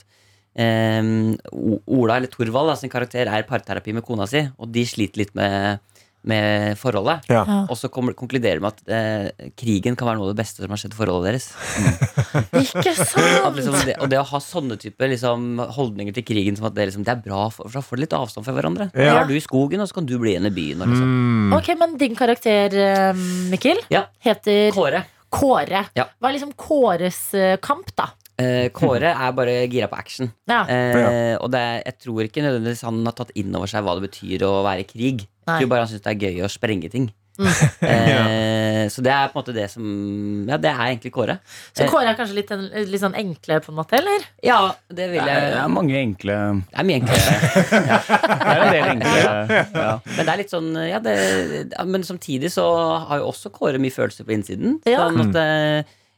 S7: em, O- Ola eller Torvald da, sin karakter er i parterapi med kona si, og de sliter litt med, med forholdet.
S3: Ja.
S2: Ja.
S7: Og så kommer, konkluderer med at eh, krigen kan være noe av det beste som har skjedd i forholdet deres. *laughs*
S2: Ikke
S7: At
S2: sant?
S7: liksom det, og det å ha sånne type liksom, holdninger til krigen som at det, liksom, det er bra, for, for da får du litt avstand fra hverandre. Da
S3: Ja.
S7: er du i skogen, og så kan du bli igjen i byen. Og, liksom.
S3: Mm.
S2: Ok, Men din karakter, eh, Mikkel,
S7: Ja.
S2: heter
S7: Kåre
S2: Kåre.
S7: Ja.
S2: Hva er liksom Kåres eh, kamp, da?
S7: eh, Kåre er bare gira på action.
S2: Ja.
S7: Eh, og det, er- jeg tror ikke nødvendigvis han har tatt inn over seg hva det betyr å være i krig.
S2: Nei. *laughs*
S7: Jeg tror bare han syns det er gøy å sprenge ting.
S2: Mm.
S7: Eh, så det er på en måte det som Ja, det er egentlig Kåre.
S2: Så Kåre er kanskje litt, en, litt sånn enkle, på en måte? eller?
S7: Ja, det vil
S6: Det
S7: jeg
S6: er, det er mange enkle
S7: Det er mye enklere.
S6: Det er en del enkle ja.
S7: Men det er litt sånn ja, det, ja, Men samtidig så har jo også Kåre mye følelser på innsiden.
S2: Ja.
S7: Sånn at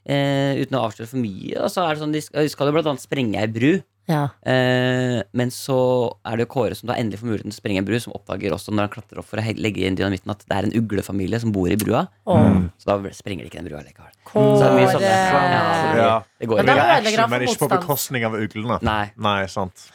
S7: eh, Uten å avsløre for mye. Og så er det sånn, De skal, de skal jo blant annet sprenge ei bru.
S2: Ja.
S7: Eh, men så er det jo Kåre som da endelig får muligheten til å sprenge ei bru, som oppdager også når han klatrer opp for å he- legge inn dynamitten, at det er en uglefamilie som bor i brua.
S2: Og
S7: Så da sprenger de ikke den brua likevel. Så det er mye
S2: Kåre
S7: sånn ja,
S3: Ja.
S7: Det
S2: Men
S7: går
S2: da
S7: ikke.
S2: ødelegger
S3: Mye action,
S2: han for
S3: men ikke på
S2: motstand.
S3: bekostning av uglene.
S7: Nei.
S3: Nei, sant.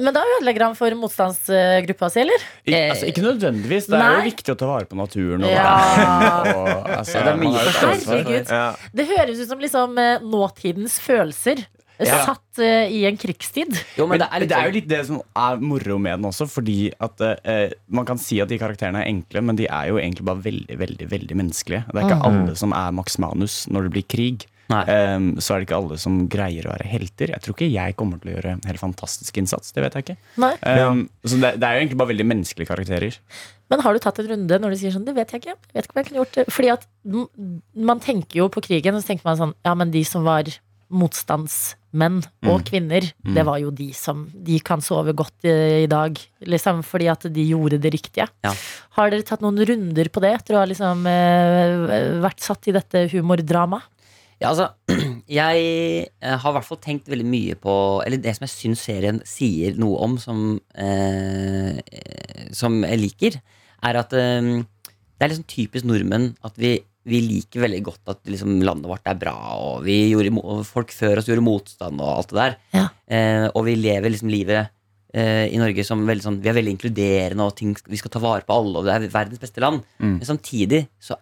S2: Men da ødelegger han for motstandsgruppa si, eller?
S6: Ik altså, Ikke nødvendigvis. Det er jo
S2: Nei.
S6: viktig å ta vare på naturen. Og
S2: Ja.
S6: *laughs* og,
S7: Ja,
S6: altså,
S7: det er mye
S6: man har jo
S7: forståelse
S6: et ansvar.
S2: Herregud.
S3: Ja.
S2: Det høres ut som liksom eh, nåtidens følelser eh,
S7: Ja.
S2: satt eh, i en krigstid.
S7: Jo, men det er litt, sånn-
S6: jo litt det som er moro med den også, fordi at eh, man kan si at de karakterene er enkle, men de er jo egentlig bare veldig, veldig veldig menneskelige. Det er ikke alle som er Max Manus når det blir krig.
S7: Nei.
S6: Ehm, så er det ikke alle som greier å være helter. Jeg tror ikke jeg kommer til å gjøre en helt fantastisk innsats. Det vet jeg ikke.
S2: Nei.
S6: Ehm, Så det, det er jo egentlig bare veldig menneskelige karakterer.
S2: Men har du tatt en runde når du sier sånn Det vet jeg ikke. Jeg vet ikke hva jeg kunne gjort. eh, Fordi at m- man tenker jo på krigen, og så tenker man sånn Ja, men de som var motstandsmenn og kvinner, det var jo de som De kan sove godt eh, i dag, liksom, fordi at de gjorde det riktige.
S7: Ja.
S2: Har dere tatt noen runder på det etter å ha liksom eh, vært satt i dette humordramaet?
S7: Ja, altså, *clears throat* jeg eh, har i hvert fall tenkt veldig mye på Eller det som jeg syns serien sier noe om, som, eh, eh, som jeg liker, er at eh, det er liksom typisk nordmenn at vi, vi liker veldig godt at liksom, landet vårt er bra, og vi gjorde, imo- og folk før oss gjorde motstand og alt det der.
S2: Ja.
S7: Eh, og vi lever liksom livet eh, i Norge som veldig sånn Vi er veldig inkluderende, og ting, vi skal ta vare på alle, og det er verdens beste land. Men samtidig så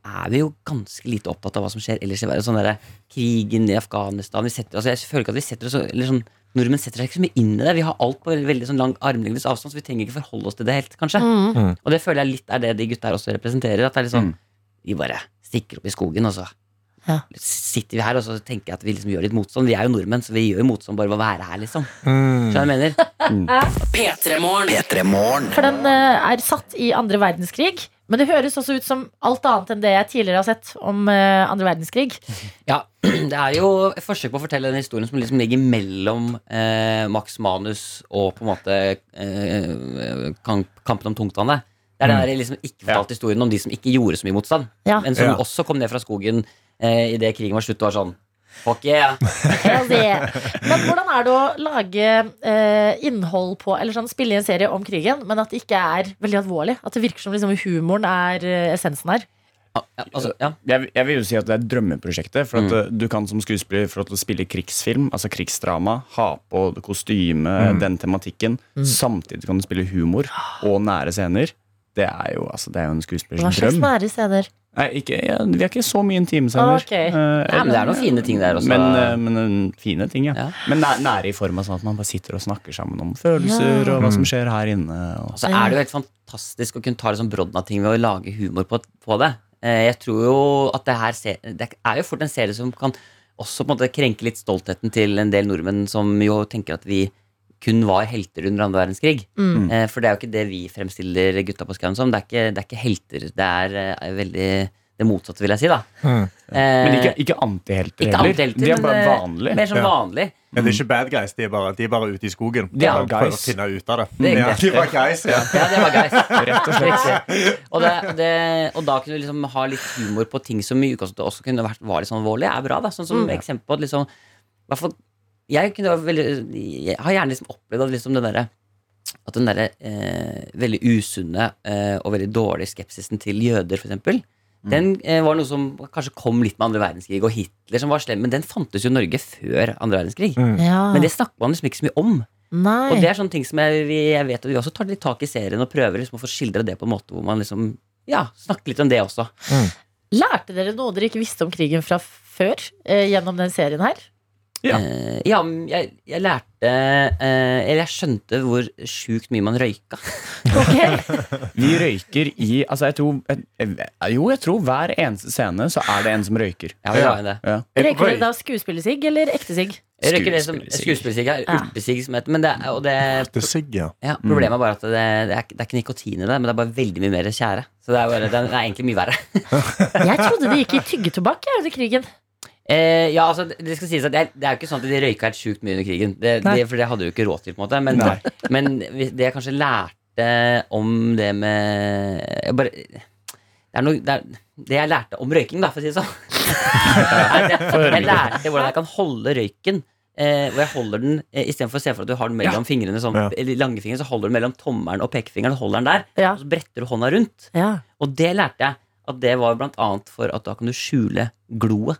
S7: er vi jo ganske lite opptatt av hva som skjer ellers i verden. Sånn derre krigen i Afghanistan vi setter, altså Jeg føler ikke at vi setter oss så- eller sånn, Nordmenn setter seg ikke så mye inn i det. Vi har alt på veldig sånn lang armlengdes avstand, så vi trenger ikke forholde oss til det helt, kanskje. Og det føler jeg litt er det de gutta her også representerer. At det er litt sånn Vi bare stikker opp i skogen, og så
S2: Ja.
S7: sitter vi her og så tenker jeg at vi liksom gjør litt motstand. Vi er jo nordmenn, så vi gjør jo motstand bare ved å være her, liksom.
S3: Mm,
S7: Skjønner du hva jeg mener?
S2: For den eh, er satt i andre verdenskrig. Men det høres også ut som alt annet enn det jeg tidligere har sett om eh, andre verdenskrig.
S7: Ja, *clears throat* det er jo et forsøk på å fortelle den historien som liksom ligger mellom eh, Max Manus og på en måte eh, kamp, kampen om tungtvannet. Det er den der liksom ikke fortalte historien om de som ikke gjorde så mye motstand.
S2: Ja.
S7: Men som
S3: Ja.
S7: også kom ned fra skogen eh, idet krigen var slutt og var sånn Fuck yeah!
S2: Hell yeah. Men hvordan er det å lage eh, innhold på Eller sånn, spille i en serie om krigen, men at det ikke er veldig alvorlig? At det virker som liksom, humoren er eh, essensen her?
S7: Ja, altså, ja.
S6: Jeg, jeg vil jo si at det er drømmeprosjektet. For at eh, du kan som skuespiller for å spille krigsfilm, altså krigsdrama, ha på kostyme, den tematikken. Samtidig kan du spille humor og nære scener. Det er jo, altså, det er jo en
S2: Hva
S6: skuespillers
S2: slags
S6: drøm.
S2: nære scener?
S6: Nei, ikke, ja, vi er ikke så mye intimscener.
S2: Ok.
S6: Eh,
S7: ja, men det er noen fine ting der også.
S6: Men, eh, men eh, fine ting, ja.
S7: Ja.
S6: Men næ- nære i form av sånn at man bare sitter og snakker sammen om følelser og hva som skjer her inne. Og.
S7: Så er det jo helt fantastisk å kunne ta liksom brodden av ting ved å lage humor på, på det. Eh, Jeg tror jo at det her se- Det er jo fort en serie som kan også på en måte krenke litt stoltheten til en del nordmenn som jo tenker at vi kun var helter under andre verdenskrig. Eh, For det er jo ikke det vi fremstiller gutta på skauen som. Det er ikke, det er ikke helter. Det er eh, veldig det motsatte, vil jeg si. da
S3: mm.
S7: Eh,
S6: Men ikke, ikke antihelter
S7: ikke
S6: heller.
S7: antihelter,
S6: De er
S7: men,
S6: bare
S7: eh,
S6: vanlige.
S7: Mer sånn vanlig.
S3: Men det er ikke bad guys, de er bare, de er bare ute i skogen.
S6: De er
S3: Og prøver
S6: guys.
S3: å finne ut av det.
S7: Det er
S3: ja,
S7: greit.
S3: de var guys, ja.
S7: Ja, det var guys.
S6: *laughs* Rett og slett.
S7: Riktig. Og, det, det, og da kunne du liksom ha litt humor på ting som i utgangspunktet også kunne vært var litt sånn alvorlig. er bra. da, Sånn som eksempel på at liksom i hvert fall, jeg, kunne være veldig, jeg har gjerne liksom opplevd at liksom den derre at den derre eh, veldig usunne eh, og veldig dårlige skepsisen til jøder, f.eks.,
S6: Mm.
S7: den eh, var noe som kanskje kom litt med andre verdenskrig og Hitler, som var slem, men den fantes jo i Norge før andre verdenskrig.
S6: Mm.
S2: Ja.
S7: Men det snakker man liksom ikke så mye om.
S2: Nei.
S7: Og det er sånne ting som jeg, vi- jeg vet at vi også tar litt tak i serien og prøver liksom å få skildra det på en måte hvor man liksom ja, snakker litt om det også.
S2: Lærte dere noe dere ikke visste om krigen fra før eh, gjennom den serien her?
S6: Ja.
S7: Eh, ja men jeg, jeg lærte eh, Eller jeg skjønte hvor sjukt mye man røyka.
S2: Ok.
S6: Vi røyker i altså jeg tror, jeg, jeg- Jo, jeg tror hver eneste scene så er det en som røyker.
S7: Ja, vi la inn det.
S6: Ja.
S2: Røyker dere da skuespillersigg eller ekte sigg?
S7: Jeg røyker det som
S6: Skuespiller-Sigurd.
S7: skuespillersigg er
S2: Ja.
S7: urtesigg som heter men det, er- og det,
S3: Det er sigg, ja.
S7: ja, Problemet er bare at det, det, er, ikke- det er ikke nikotin i det, men det er bare veldig mye mer tjære. Så det er, bare, det er, det er egentlig mye verre.
S2: Jeg trodde det gikk i tyggetobakk jeg, under krigen.
S7: Eh, ja, altså, det skal sies at det er, det er jo ikke sånn at de røyka helt sjukt mye under krigen. Det,
S2: Nei.
S7: det, for det hadde de jo ikke råd til, på en måte. Men,
S6: Nei.
S7: men hvis- det jeg kanskje lærte om det med jeg bare, det, er noe, det, er, det jeg lærte om røyking, da, for å si det sånn. Nei, det, jeg lærte hvordan jeg kan holde røyken. Eh, hvor jeg holder den eh, Istedenfor å se for deg at du har den mellom fingrene sånn,
S3: Ja.
S7: eller langfingeren, så holder du den mellom tommelen og pekefingeren. Holder den der,
S2: Ja.
S7: Og så bretter du hånda rundt.
S2: Ja.
S7: Og det lærte jeg at det var blant annet for at da kan du skjule gloet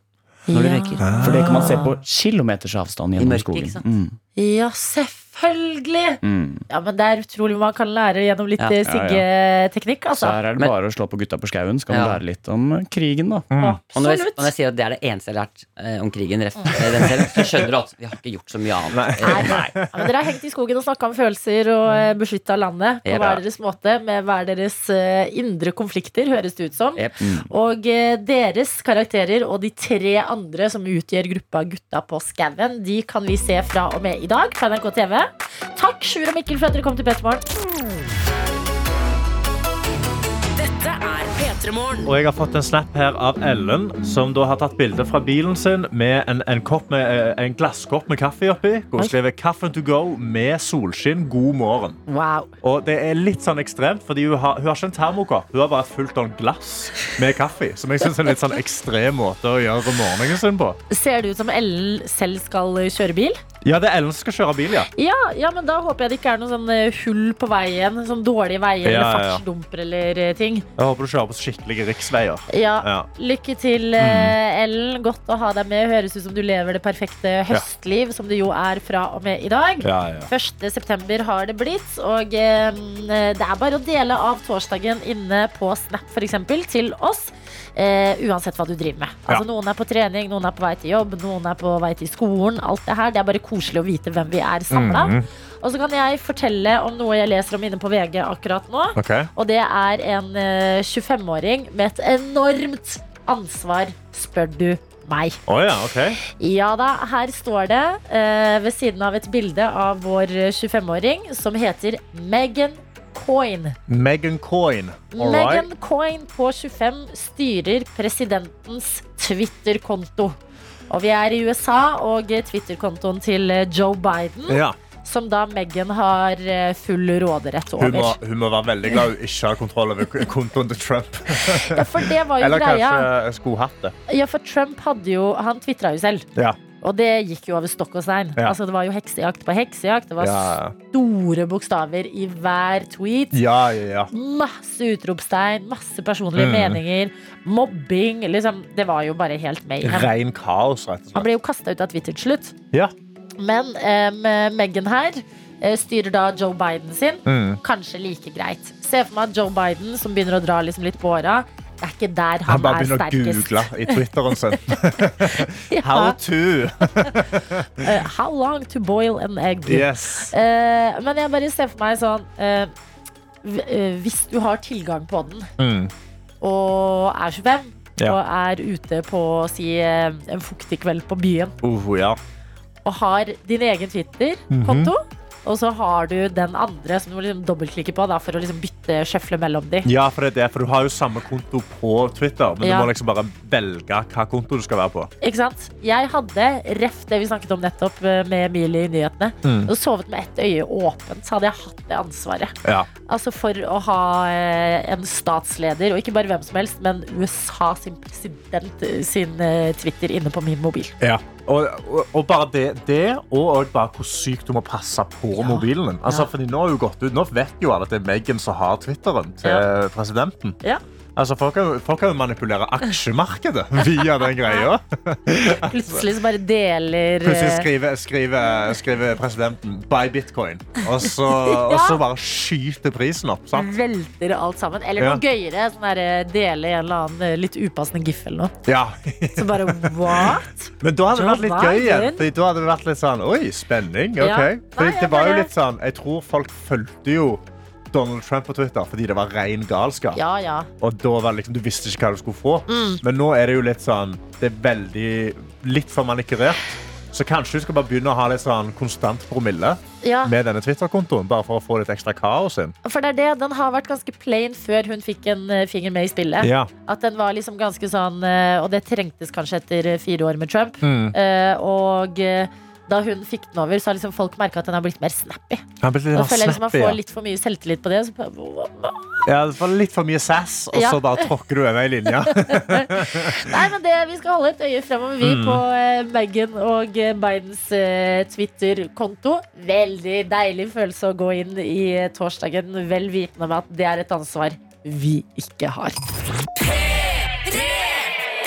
S7: når du
S2: Ja.
S7: røyker.
S6: For det kan man se på kilometers avstand gjennom
S7: mørket,
S6: skogen.
S7: ikke sant?
S6: Mm.
S2: ja, selvfølgelig!
S6: Mm.
S2: Ja, men det er utrolig hva man kan lære gjennom litt
S7: Ja.
S2: eh,
S6: Ja, ja.
S2: siggeteknikk,
S6: Så
S2: altså.
S6: her er det
S7: Men-
S6: bare å slå på gutta på skauen, så kan man
S7: Ja.
S6: lære litt om krigen, da.
S7: Og når, jeg, og
S2: Absolutt.
S7: når jeg sier at det er det eneste jeg har lært eh, om krigen, ref, eh, den selv, så skjønner du at vi har ikke gjort så mye annet. Eh,
S2: Nei, Ja, men dere har hengt i skogen og snakka om følelser og beskytta landet på
S7: Ja.
S2: hver deres måte, med hver deres eh, indre konflikter, høres det ut som.
S7: Jep.
S2: Og eh, deres karakterer og de tre andre som utgjør gruppa Gutta på skauen, de kan vi se fra og med i dag på NRK TV. Takk, Sjur og Mikkel, for at dere kom til Petermorgen.
S3: Og jeg har fått en snap her av Ellen, som da har tatt bilde fra bilen sin med en, en, kopp med, eh, en glasskopp med kaffe oppi. Hvor hun skriver 'Kaffen to go med solskinn. God morgen'.
S2: Wow.
S3: Og det er litt sånn ekstremt, fordi hun har, hun har ikke en termokopp. Hun har bare et fullt av glass med kaffe. Som jeg synes er en litt sånn ekstrem måte å gjøre morgenen sin på.
S2: Ser det ut som Ellen selv skal eh, kjøre bil?
S3: Ja, det er Ellen som skal kjøre bil, ja.
S2: Ja, ja, men da håper jeg det ikke er noen sånn eh, hull på veien. Sånn dårlige veier
S3: Ja,
S2: eller
S3: ja, ja.
S2: fartsdumper eller eh, ting.
S3: Jeg håper du kjører på skikkelige riksveier.
S2: Ja.
S3: Ja. Mm.
S2: Lykke til, eh, Ellen. Godt å ha deg med. Høres ut som du lever det perfekte høstliv, som det jo er fra og med i dag.
S3: Ja, ja.
S2: 1. september har det blitt, og eh, det er bare å dele av torsdagen inne på Snap for eksempel, til oss. eh, uansett hva du driver med. Altså, Noen er på trening, noen er på vei til jobb, noen er på vei til skolen. Alt det her. Det er bare koselig å vite hvem vi er samla. Og så kan jeg fortelle om noe jeg leser om inne på VG akkurat nå.
S3: Ok.
S2: Og det er en eh, 25-åring med et enormt ansvar, spør du meg.
S3: Å ja, ok.
S2: Ja da, her står det eh, ved siden av et bilde av vår eh, 25-åring som heter Megan Coyne.
S3: Megan Coyne. All right.
S2: Megan Coyne på 25 styrer presidentens Twitter-konto. Og vi er i USA, og eh, Twitter-kontoen til eh, Joe Biden,
S3: Ja.
S2: som da Megan har eh, full råderett
S3: Hun må,
S2: over.
S3: hun må være veldig glad hun ikke har kontroll over k- kontoen til Trump.
S2: Ja, for det var jo
S3: Eller
S2: greia.
S3: kanskje eh, skulle hatt det.
S2: Ja, for Trump hadde jo Han tvitra jo selv.
S3: Ja.
S2: Og det gikk jo over stokk og stein.
S3: Ja.
S2: Altså, det var jo heksejakt på heksejakt. Det var
S3: Ja,
S2: store bokstaver i hver tweet.
S3: ja, ja.
S2: Masse utropstegn, masse personlige
S3: Mm.
S2: meninger. Mobbing. Liksom, det var jo bare helt mayhem.
S3: Rein kaos, rett og
S2: Han
S3: slett.
S2: ble jo kasta ut av Twitter til slutt.
S3: Ja.
S2: Men um, Megan her eh, styrer da Joe Biden sin.
S3: Mm.
S2: Kanskje like greit. Se for meg at Joe Biden, som begynner å dra liksom litt på åra, det er ikke der han,
S3: Han bare
S2: er
S3: begynner å
S2: sterkest.
S3: google i Twitteren
S2: *laughs*
S3: sin.
S2: Ja.
S3: How to.
S2: Eh, how long to boil an egg?
S3: Yes.
S2: Eh, men jeg bare ser for meg sånn eh, v- eh, Hvis du har tilgang på den
S3: Mm.
S2: og er 25
S3: Ja.
S2: og er ute på si, eh, en fuktig kveld på byen
S3: Uh, ja.
S2: og har din egen Twitter-konto,
S3: Mhm.
S2: og så har du den andre som du må liksom dobbeltklikke på da, for å liksom bytte sjøfle mellom de.
S3: ja, for det er det. For du har jo samme konto på Twitter, men
S2: Ja.
S3: du må liksom bare velge hva konto du skal være på.
S2: Ikke sant? Jeg hadde ref det vi snakket om nettopp eh, med Emilie i nyhetene.
S3: Mm.
S2: Og sovet med ett øye åpent, så hadde jeg hatt det ansvaret.
S3: Ja.
S2: Altså For å ha eh, en statsleder, og ikke bare hvem som helst, men USA sin president eh, sin eh, Twitter inne på min mobil.
S3: Ja. Og, og, og bare det, det og, og bare hvor sykt du må passe på mobilen din. Altså,
S2: Ja.
S3: fordi nå, er jo gått ut, nå vet jo alle at det er Meghan som har Twitteren til
S2: Ja.
S3: presidenten.
S2: Ja.
S3: Altså, folk, kan, jo- folk kan jo manipulere
S2: *laughs*
S3: aksjemarkedet via den greia.
S2: Plutselig så bare deler
S3: Plutselig
S2: eh,
S3: skriver, skriver, skriver presidenten 'buy bitcoin', og
S2: *laughs*
S3: så, og så bare skyter prisen opp. Sant?
S2: Velter alt sammen. Eller
S3: Ja.
S2: noe gøyere. Sånn der, eh, dele en eller annen eh, litt upassende gif eller noe.
S3: Ja.
S2: Så bare what?
S3: Men da hadde det
S2: Joe
S3: vært litt gøy igjen.
S2: Biden.
S3: Fordi da hadde det vært litt sånn Oi, spenning.
S2: Ja.
S3: ok.
S2: Nei,
S3: Fordi
S2: jeg
S3: det var jo
S2: bare-
S3: litt sånn Jeg tror folk fulgte jo Donald Trump på Twitter fordi det var ren galskap.
S2: *laughs* Ja Mm. ja.
S3: Og da var det liksom, Du visste ikke hva du skulle få. Men nå er det jo litt sånn Det er veldig Litt for manikurert. Så kanskje du skal bare begynne å ha litt sånn konstant promille
S2: Ja,
S3: med denne Twitter-kontoen. Bare for å få litt ekstra kaos inn.
S2: for det er det. Den har vært ganske plain før hun fikk en eh, finger med i spillet.
S3: Ja.
S2: At den var liksom ganske sånn eh, Og det trengtes kanskje etter eh, fire år med Trump.
S3: Mm.
S2: Eh, Og eh, da hun fikk den over, så har liksom folk merka at den har blitt mer snappy.
S3: Han ble litt
S2: Da
S3: sånn
S2: føler jeg liksom man
S3: snappy, ja.
S2: får litt for mye selvtillit på det. og Så bare,
S3: Ja, det var litt for mye sass, og
S2: Ja.
S3: så bare tråkker du over ei
S2: *laughs*
S3: linje.
S2: Nei, men det, Vi skal holde et øye fremover, vi,
S3: Mm.
S2: på eh, Meghan og eh, Bidens eh, Twitter-konto. Veldig deilig følelse å gå inn i eh, torsdagen vel vitende om at det er et ansvar vi ikke har.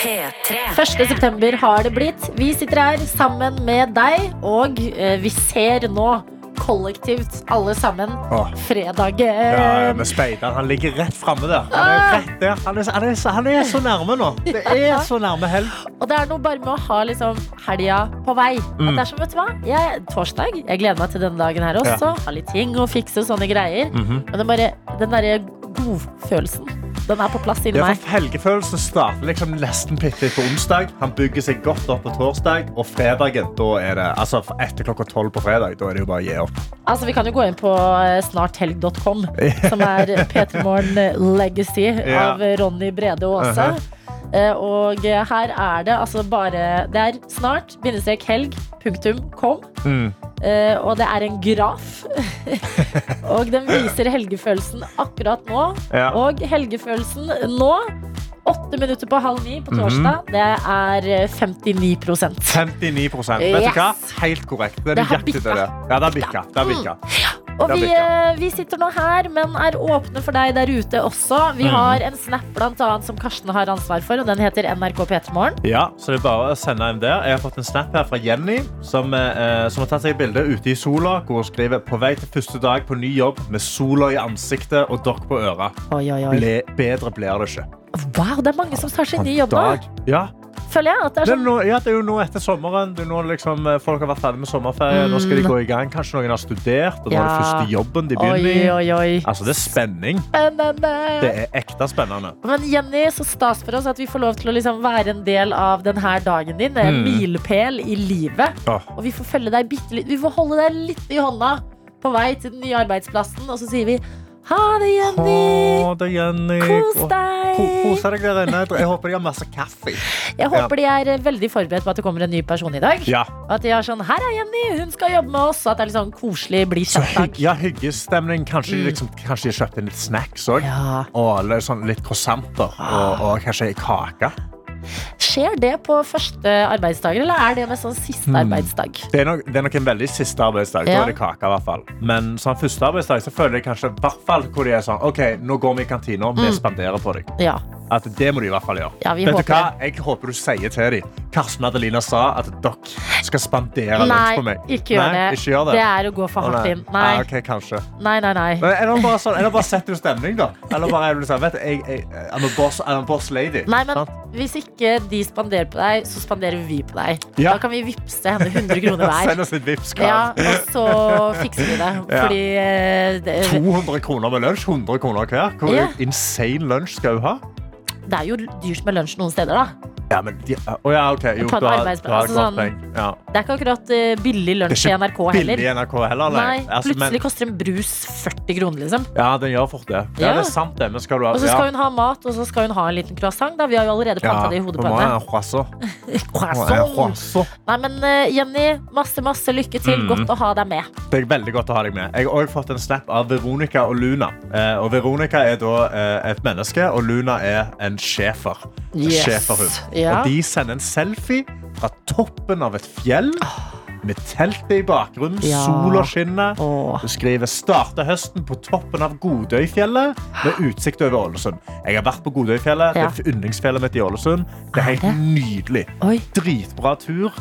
S2: 1. september har det blitt. Vi sitter her sammen med deg, og eh, vi ser nå kollektivt alle sammen Eh,
S3: Åh.
S2: fredagen.
S3: Ja, ja, men speideren han ligger rett framme der. Han er, rett der. Han, er, han, er, så- han er så nærme nå. Det er så nærme helg.
S2: Og det er noe bare med å ha liksom helga på vei.
S3: Mm.
S2: At det er som, vet du hva, jeg, Torsdag. Jeg gleder meg til denne dagen her også. Ha litt ting å fikse og sånne greier.
S3: Mhm.
S2: Men det er bare, den derre godfølelsen, den er på plass inni
S3: Ja,
S2: meg.
S3: for Helgefølelsen starter liksom nesten bitte litt på onsdag. Han bygger seg godt opp på torsdag, og fredagen, da er det altså etter klokka tolv på fredag. Da er det jo bare å gi opp.
S2: Altså, Vi kan jo gå inn på eh,
S3: *laughs*
S2: snarthelg.com, som er P3 Morgen Legacy
S3: Ja.
S2: av Ronny Brede Aase.
S3: Uh-huh.
S2: Eh, Og eh, her er det altså bare Det er snart bindestrek helg punktum kom.
S3: Mm.
S2: Eh, og det er en graf. *laughs* og den viser helgefølelsen akkurat nå.
S3: Ja.
S2: Og helgefølelsen nå, åtte minutter på halv ni på
S3: Mhm.
S2: torsdag, det er eh, 59
S3: 59 Vet du hva?
S2: Yes.
S3: Helt korrekt. Det er
S2: Det har
S3: nøyaktig det.
S2: bikka.
S3: der. Ja, det har bikka. Det har bikka.
S2: Og
S3: Det er
S2: vi,
S3: bra.
S2: eh, vi sitter nå her, men er åpne for deg der ute også.
S3: Mm.
S2: Vi har en snap blant annet som Karsten har ansvar for, og den heter NRK P3morgen.
S3: Ja, så det er bare å sende en der. Jeg har fått en snap her fra Jenny, som, eh, som har tatt seg et bilde ute i sola, hvor hun skriver på vei til første dag på ny jobb med sola i ansiktet og dokk på øra.
S2: Oi, oi, oi.
S3: Ble, bedre blir det ikke.
S2: Wow, det er mange som starter sin ny jobb nå.
S3: Ja.
S2: Føler jeg at det er
S3: Det, er
S2: sånn
S3: nå, ja, det er jo nå etter sommeren. Det er nå liksom, eh, folk har vært ferdig med sommerferie. Nå skal de gå i gang. Kanskje noen har studert, og
S2: Mm.
S3: nå er det
S2: Ja.
S3: første jobben de
S2: Oi,
S3: begynner i.
S2: oi, oi.
S3: Altså, det er spenning. Det
S2: Spennende.
S3: er ekte spennende.
S2: Men Jenny, så stas for oss at vi får lov til å liksom være en del av denne dagen din. Det er en
S3: Mm.
S2: milepæl i livet.
S3: Åh.
S2: Og vi får følge deg bitte litt Vi får holde deg litt i hånda på vei til den nye arbeidsplassen, og så sier vi ha det, Jenny.
S3: Å, det er Jenny.
S2: Kos
S3: Å, ko-
S2: deg!
S3: Kose deg der inne. Jeg håper de har masse kaffe.
S2: Jeg håper de er eh, veldig forberedt på at det kommer en ny person i dag.
S3: Ja.
S2: Og At de er sånn 'Her er Jenny, hun skal jobbe med oss.' Og at det er litt sånn koselig, bli
S3: Så
S2: kjent-dag.
S3: hygg- ja, hyggestemning. Kanskje, de liksom, kanskje de kjøpte litt snacks òg.
S2: Mm. Ja.
S3: Og eller sånn litt croissanter og, og kanskje ei kake.
S2: Skjer det på første arbeidsdager, eller er det med sånn siste
S3: Hmm.
S2: arbeidsdag?
S3: Det er, nok, det er nok en veldig siste arbeidsdag.
S2: Ja.
S3: Da er det kake. i hvert fall Men sånn første arbeidsdag så føler jeg kanskje i hvert fall hvor de er sånn OK, nå går vi i kantina, vi spanderer på deg.
S2: Ja.
S3: At Det må de i hvert fall gjøre.
S2: Mm. Ja, vi
S3: Vet
S2: håper
S3: du hva? Jeg håper du sier til dem Karsten Adelina sa at dere skal spandere lunsj
S2: Nei,
S3: på meg.
S2: ikke gjør
S3: Nei,
S2: det.
S3: Ikke gjør det.
S2: er å gå
S3: Å,
S2: for hardt
S3: nei.
S2: inn. Nei,
S3: Ja, ok, kanskje.
S2: nei, nei. nei.
S3: Men Eller bare, sånn, eller bare setter du stemning, da. Eller bare er du sånn, vet du, jeg, jeg, I'm, a boss, I'm a boss lady.
S2: Nei, men
S3: Sant?
S2: Hvis ikke de spanderer på deg, så spanderer vi på deg.
S3: Ja.
S2: Da kan vi vippse henne 100 kroner hver.
S3: *laughs* Send oss et
S2: Ja,
S3: Vipps-krav.
S2: og så fikser vi det.
S3: Ja.
S2: Fordi eh, det,
S3: 200 kroner med lunsj. 100 kroner hver. Hvor
S2: Ja.
S3: insane lunsj skal hun ha?
S2: det er jo dyrt med lunsj noen steder, da.
S3: Ja, men de, å ja, OK. Jo,
S2: På en
S3: du har,
S2: arbeidsplass,
S3: du har
S2: altså
S3: godt
S2: sånn-
S3: poeng. Ja.
S2: Det er ikke akkurat eh, billig
S3: Det
S2: lunsj i
S3: er
S2: NRK
S3: ikke
S2: heller.
S3: billig i NRK heller,
S2: Nei,
S3: Altså, men,
S2: Plutselig koster en brus 40 kroner, liksom.
S3: ja, den gjør fort det. Ja,
S2: Ja.
S3: det er sant, det. Men skal du ha
S2: Og så skal hun ha mat, og så skal hun ha en liten croissant. Da. Vi har jo allerede planta det i hodet på henne. Croissant!
S3: henne.
S2: Nei, men eh, Jenny, masse, masse lykke til.
S3: Mm.
S2: Godt å ha deg med.
S3: Det er veldig godt å ha deg med. Jeg har også fått en snap av Veronica og Luna. Eh, og Veronica er da eh, et menneske, og Luna er en schæfer. En
S2: Yes.
S3: Schæferhund.
S2: Ja.
S3: Og de sender en selfie fra toppen av et fjell. Med teltet i bakgrunnen,
S2: Ja.
S3: sola skinner.
S2: Åh.
S3: Du skriver 'Starte høsten på toppen av Godøyfjellet med utsikt over Ålesund'. Jeg har vært på Godøyfjellet.
S2: Ja.
S3: Det er yndlingsfjellet mitt i Ålesund. Det er helt
S2: Er det?
S3: nydelig.
S2: Oi.
S3: Dritbra tur.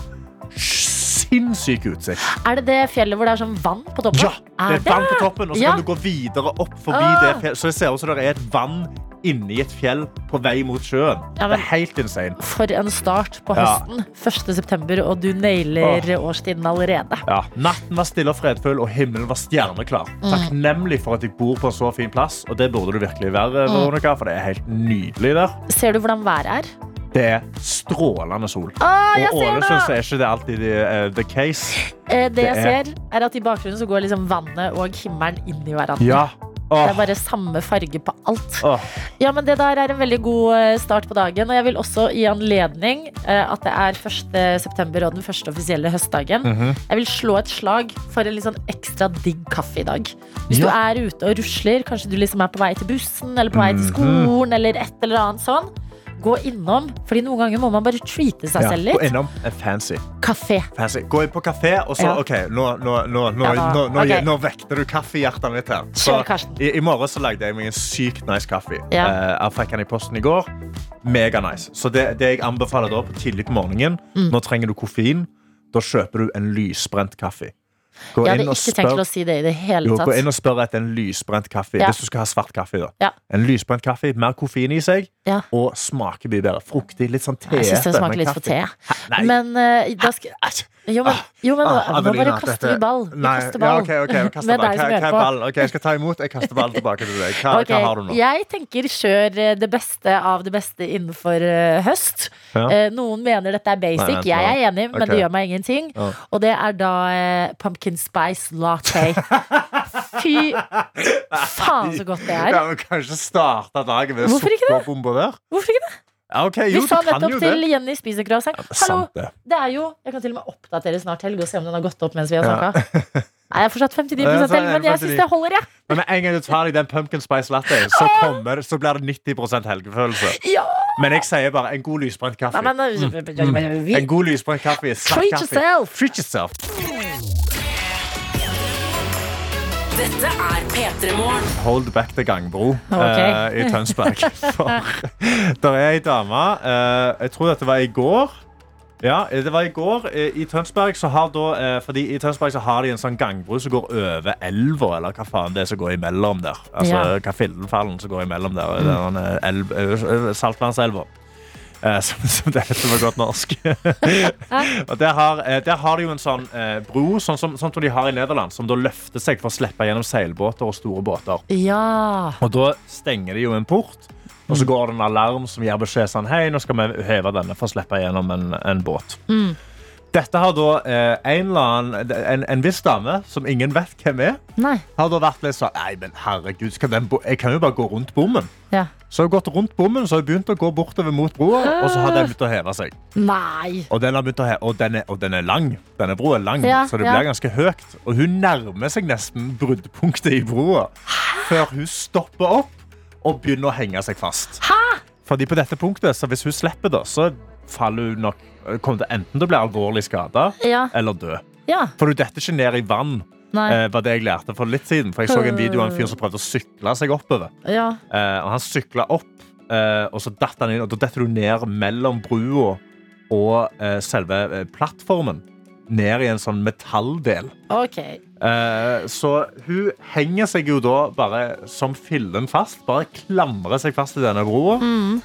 S3: Sinnssyk utsikt.
S2: Er det det fjellet hvor det er sånn vann på toppen?
S3: Ja, det er vann på toppen, og så
S2: Ja.
S3: kan du gå videre opp forbi
S2: Ah.
S3: det fjellet. Så det ser ut som det er et vann inni et fjell på vei mot sjøen.
S2: Ja, men-
S3: Det er helt insane.
S2: For en start på
S3: Ja.
S2: høsten. 1. september, og du nailer årstiden allerede.
S3: Ja. Natten var stille og fredfull, og himmelen var stjerneklar.
S2: Mm.
S3: Takknemlig for at jeg bor på en så
S2: Mm.
S3: fin plass, og det burde du virkelig være, Veronica, for det er helt nydelig der.
S2: Ser du hvordan været er?
S3: Det er strålende sol.
S2: Å, Ah, jeg
S3: Og
S2: ser det!
S3: Ålesund så er ikke det alltid eh, the case.
S2: Eh, det jeg
S3: Det
S2: ser, er at i bakgrunnen så går liksom vannet og himmelen inn i hverandre.
S3: Ja.
S2: Det
S3: Åh,
S2: er bare samme farge på alt.
S3: åh.
S2: Ja, men Det der er en veldig god eh, start på dagen. Og jeg vil også gi anledning eh, at det er 1. september og den første offisielle høstdagen.
S3: Mhm.
S2: Jeg vil slå et slag for en litt sånn ekstra digg kaffe i dag. Hvis du
S3: Ja.
S2: er ute og rusler, kanskje du liksom er på vei til bussen eller på vei
S3: Mhm.
S2: til skolen eller et eller annet sånn. Gå innom, fordi noen ganger må man bare treate seg
S3: Ja,
S2: selv
S3: Gå
S2: litt.
S3: innom en fancy.
S2: Kafé.
S3: fancy. Gå inn på kafé, og så
S2: Ja.
S3: OK, nå, nå, nå, nå,
S2: Ja,
S3: nå, nå,
S2: ok.
S3: nå vekter du kaffehjertet mitt her. Så
S2: Kjør, Karsten.
S3: i, I morgen så lagde jeg meg en sykt nice kaffe.
S2: Ja.
S3: Eh, jeg fikk den i posten i går. Mega nice. Så det, det jeg anbefaler da, på tidlig på morgenen
S2: Mm.
S3: Nå trenger du koffein. Da kjøper du en lysbrent kaffe. Gå
S2: Jeg hadde
S3: inn og
S2: ikke tenkt
S3: spør-
S2: å si det i det hele
S3: jo, gå inn
S2: tatt.
S3: og spør etter en lysbrent kaffe.
S2: Ja.
S3: Hvis du skal ha svart kaffe. da
S2: Ja.
S3: En lysbrent kaffe, Mer koffein i seg,
S2: Ja.
S3: og smaker mye bedre. Fruktig. Litt sånn teete.
S2: Jeg syns den
S3: men
S2: smaker litt for
S3: kaffe.
S2: te.
S3: Nei.
S2: Men eh, da skal
S3: Æsj.
S2: Jo, men, jo, men
S3: Ah,
S2: nå, nå bare
S3: Adelina,
S2: kaster
S3: dette-
S2: vi ball. Vi
S3: Nei,
S2: kaster ball.
S3: Ja, ok,
S2: *laughs*
S3: ok, vi kaster
S2: Med
S3: ball.
S2: deg som
S3: Hva-
S2: hører
S3: hva er
S2: på.
S3: ball? Ok, jeg skal ta imot. Jeg kaster ballen tilbake til deg. Hva,
S2: Ok,
S3: hva har du nå?
S2: Jeg tenker kjør eh, det beste av det beste innenfor eh, høst.
S3: Ja.
S2: Eh, noen mener dette er basic.
S3: Nei, vent,
S2: jeg er enig, men det
S3: Ok.
S2: gjør meg ingenting.
S3: Ja.
S2: Og det er da eh, pumpkin spice latte.
S3: *laughs*
S2: Fy faen så godt det er.
S3: Ja, men kanskje starte dagen med
S2: Hvorfor ikke
S3: sukkerbomber der?
S2: Hvorfor ikke det?
S3: Ja, ok, jo,
S2: Vi sa
S3: du kan
S2: nettopp
S3: jo
S2: til
S3: det.
S2: Jenny spiser croissant. Hallo,
S3: Sant det.
S2: det er jo Jeg kan til og med oppdatere snart helg og se om den har gått opp mens vi har
S3: Ja.
S2: snakka. Nei,
S3: *laughs*
S2: jeg er fortsatt 59
S3: Ja, så er
S2: helg, men jeg
S3: det 59.
S2: syns det holder, jeg.
S3: Men med en gang du tar deg den pumpkin
S2: *laughs*
S3: spice latte, så, kommer, så blir det 90 helgefølelse.
S2: Ja!
S3: Men jeg sier bare en god lysbrent kaffe.
S2: Nei, men, vi,
S3: Mm. En god lysbrent kaffe er svart
S2: Treat
S3: kaffe.
S2: yourself.
S3: Treat yourself.
S9: Dette er P3 Morgen.
S3: Hold back til gangbro
S2: *laughs* Ok.
S3: eh, i Tønsberg.
S2: *laughs*
S3: For der er ei dame eh, Jeg tror dette var i går. Ja, det var i går. eh, I Tønsberg så har, da, eh, fordi i Tønsberg så har de en sånn gangbro som går over elva, eller hva faen det er som går imellom der. Altså
S2: Ja. Mm.
S3: hva fillenfallen som går imellom der. den, eh, elv- eh, Saltlandselva. Eh, *laughs* som, som det heter på godt
S2: *laughs*
S3: norsk. og der har, eh, der har de jo en sånn eh, bro, sånn som, sånn som de har i Nederland, som da løfter seg for å slippe gjennom seilbåter og store båter.
S2: Ja.
S3: Og da stenger de jo en port, og så går det en alarm som gir beskjed sånn Hei, nå skal vi heve denne for å slippe gjennom en, en båt. Dette har da eh, en, eller annen, en, en viss dame, som ingen vet hvem er,
S2: Nei.
S3: har da vært litt sånn Nei, men herregud, skal den bo jeg kan jo bare gå rundt bommen.
S2: Ja.
S3: Så har hun gått rundt bommen, så har hun begynt å gå bortover mot broa, og så har den begynt å heve seg.
S2: Nei.
S3: Og den, har begynt å he og den, er, og den er lang. Denne broa er lang,
S2: Ja,
S3: så det
S2: ja.
S3: blir ganske høyt. Og hun nærmer seg nesten bruddpunktet i broa før hun stopper opp og begynner å henge seg fast. Fordi på dette punktet, så hvis hun slipper, da, så faller hun nok eh, kommer til enten til å bli alvorlig skada
S2: Ja.
S3: eller dø.
S2: Ja.
S3: For du detter ikke ned i vann,
S2: Nei.
S3: eh, var det jeg lærte for litt siden. For jeg så en video av en fyr som prøvde å sykle seg oppover.
S2: Ja.
S3: Eh, og han sykla opp, eh, og så datt han inn. Og da detter du ned mellom brua og eh, selve eh, plattformen. Ned i en sånn metalldel.
S2: Ok.
S3: Eh, så hun henger seg jo da bare som fillen fast. Bare klamrer seg fast i denne broa.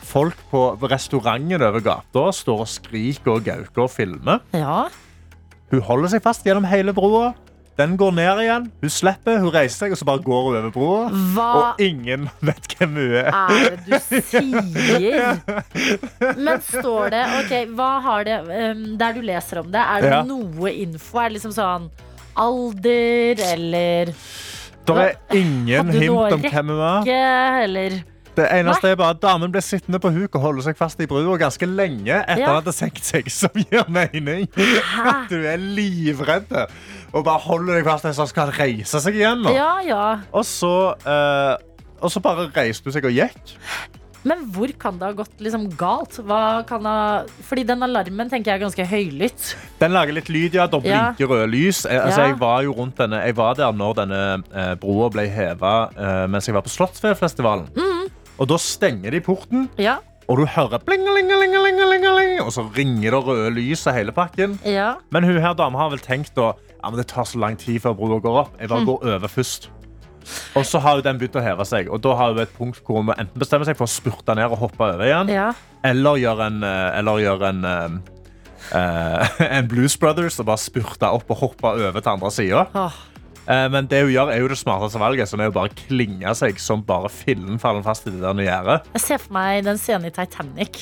S3: Folk på restauranten over gata står og skriker og gauker og filmer.
S2: Ja.
S3: Hun holder seg fast gjennom hele broa. Den går ned igjen. Hun slipper, hun reiser seg, og så bare går hun over broa.
S2: Hva
S3: Og ingen *laughs* vet hvem hun er.
S2: er det du
S3: *laughs*
S2: sier? Men står det Ok, hva har det ehm, Der du leser om det, er det
S3: Ja.
S2: noe info? Er det liksom sånn alder eller
S3: Det er ingen
S2: Hadde du noe
S3: hint om hvem hun var.
S2: ikke eller
S3: Det eneste er bare at Damen ble sittende på huk og holde seg fast i brua ganske lenge etter
S2: Ja.
S3: at det senket seg, som gir mening. At du er livredd og bare holder deg fast til han skal reise seg igjen. nå.
S2: Ja, ja.
S3: Og, så, eh, og så bare reiste hun seg og gikk.
S2: Men hvor kan det ha gått liksom galt? Hva kan ha Fordi den alarmen tenker jeg er ganske høylytt.
S3: Den lager litt lyd, ja. Da
S2: Ja.
S3: blinker røde lys. Jeg, altså,
S2: Ja.
S3: jeg var jo rundt denne Jeg var der når denne eh, broa ble heva eh, mens jeg var på Slottsfjellfestivalen.
S2: Mm.
S3: Og da stenger de porten.
S2: Ja.
S3: Og du hører bling, bling, bling, bling, bling, bling, Og så ringer det røde lys og hele pakken
S2: Ja.
S3: Men hun her dame har vel tenkt da, ja, men Det tar så lang tid før broa går opp Jeg bare går over først Og så har jo den begynt å heve seg Og da har hun et punkt hvor hun må enten bestemme seg for å spurte ned Og hoppe over igjen
S2: ja.
S3: Eller gjøre en, eh, eller gjøre en eh, eh, *laughs* en Blues Brothers Og bare spurte opp og hoppe over til andre siden
S2: Åh.
S3: Eh, Men det hun gjør er jo det smarteste valget Som er jo bare å klinge seg Som bare fillen faller fast i det der nye gjerdet.
S2: Jeg ser for meg den scenen i Titanic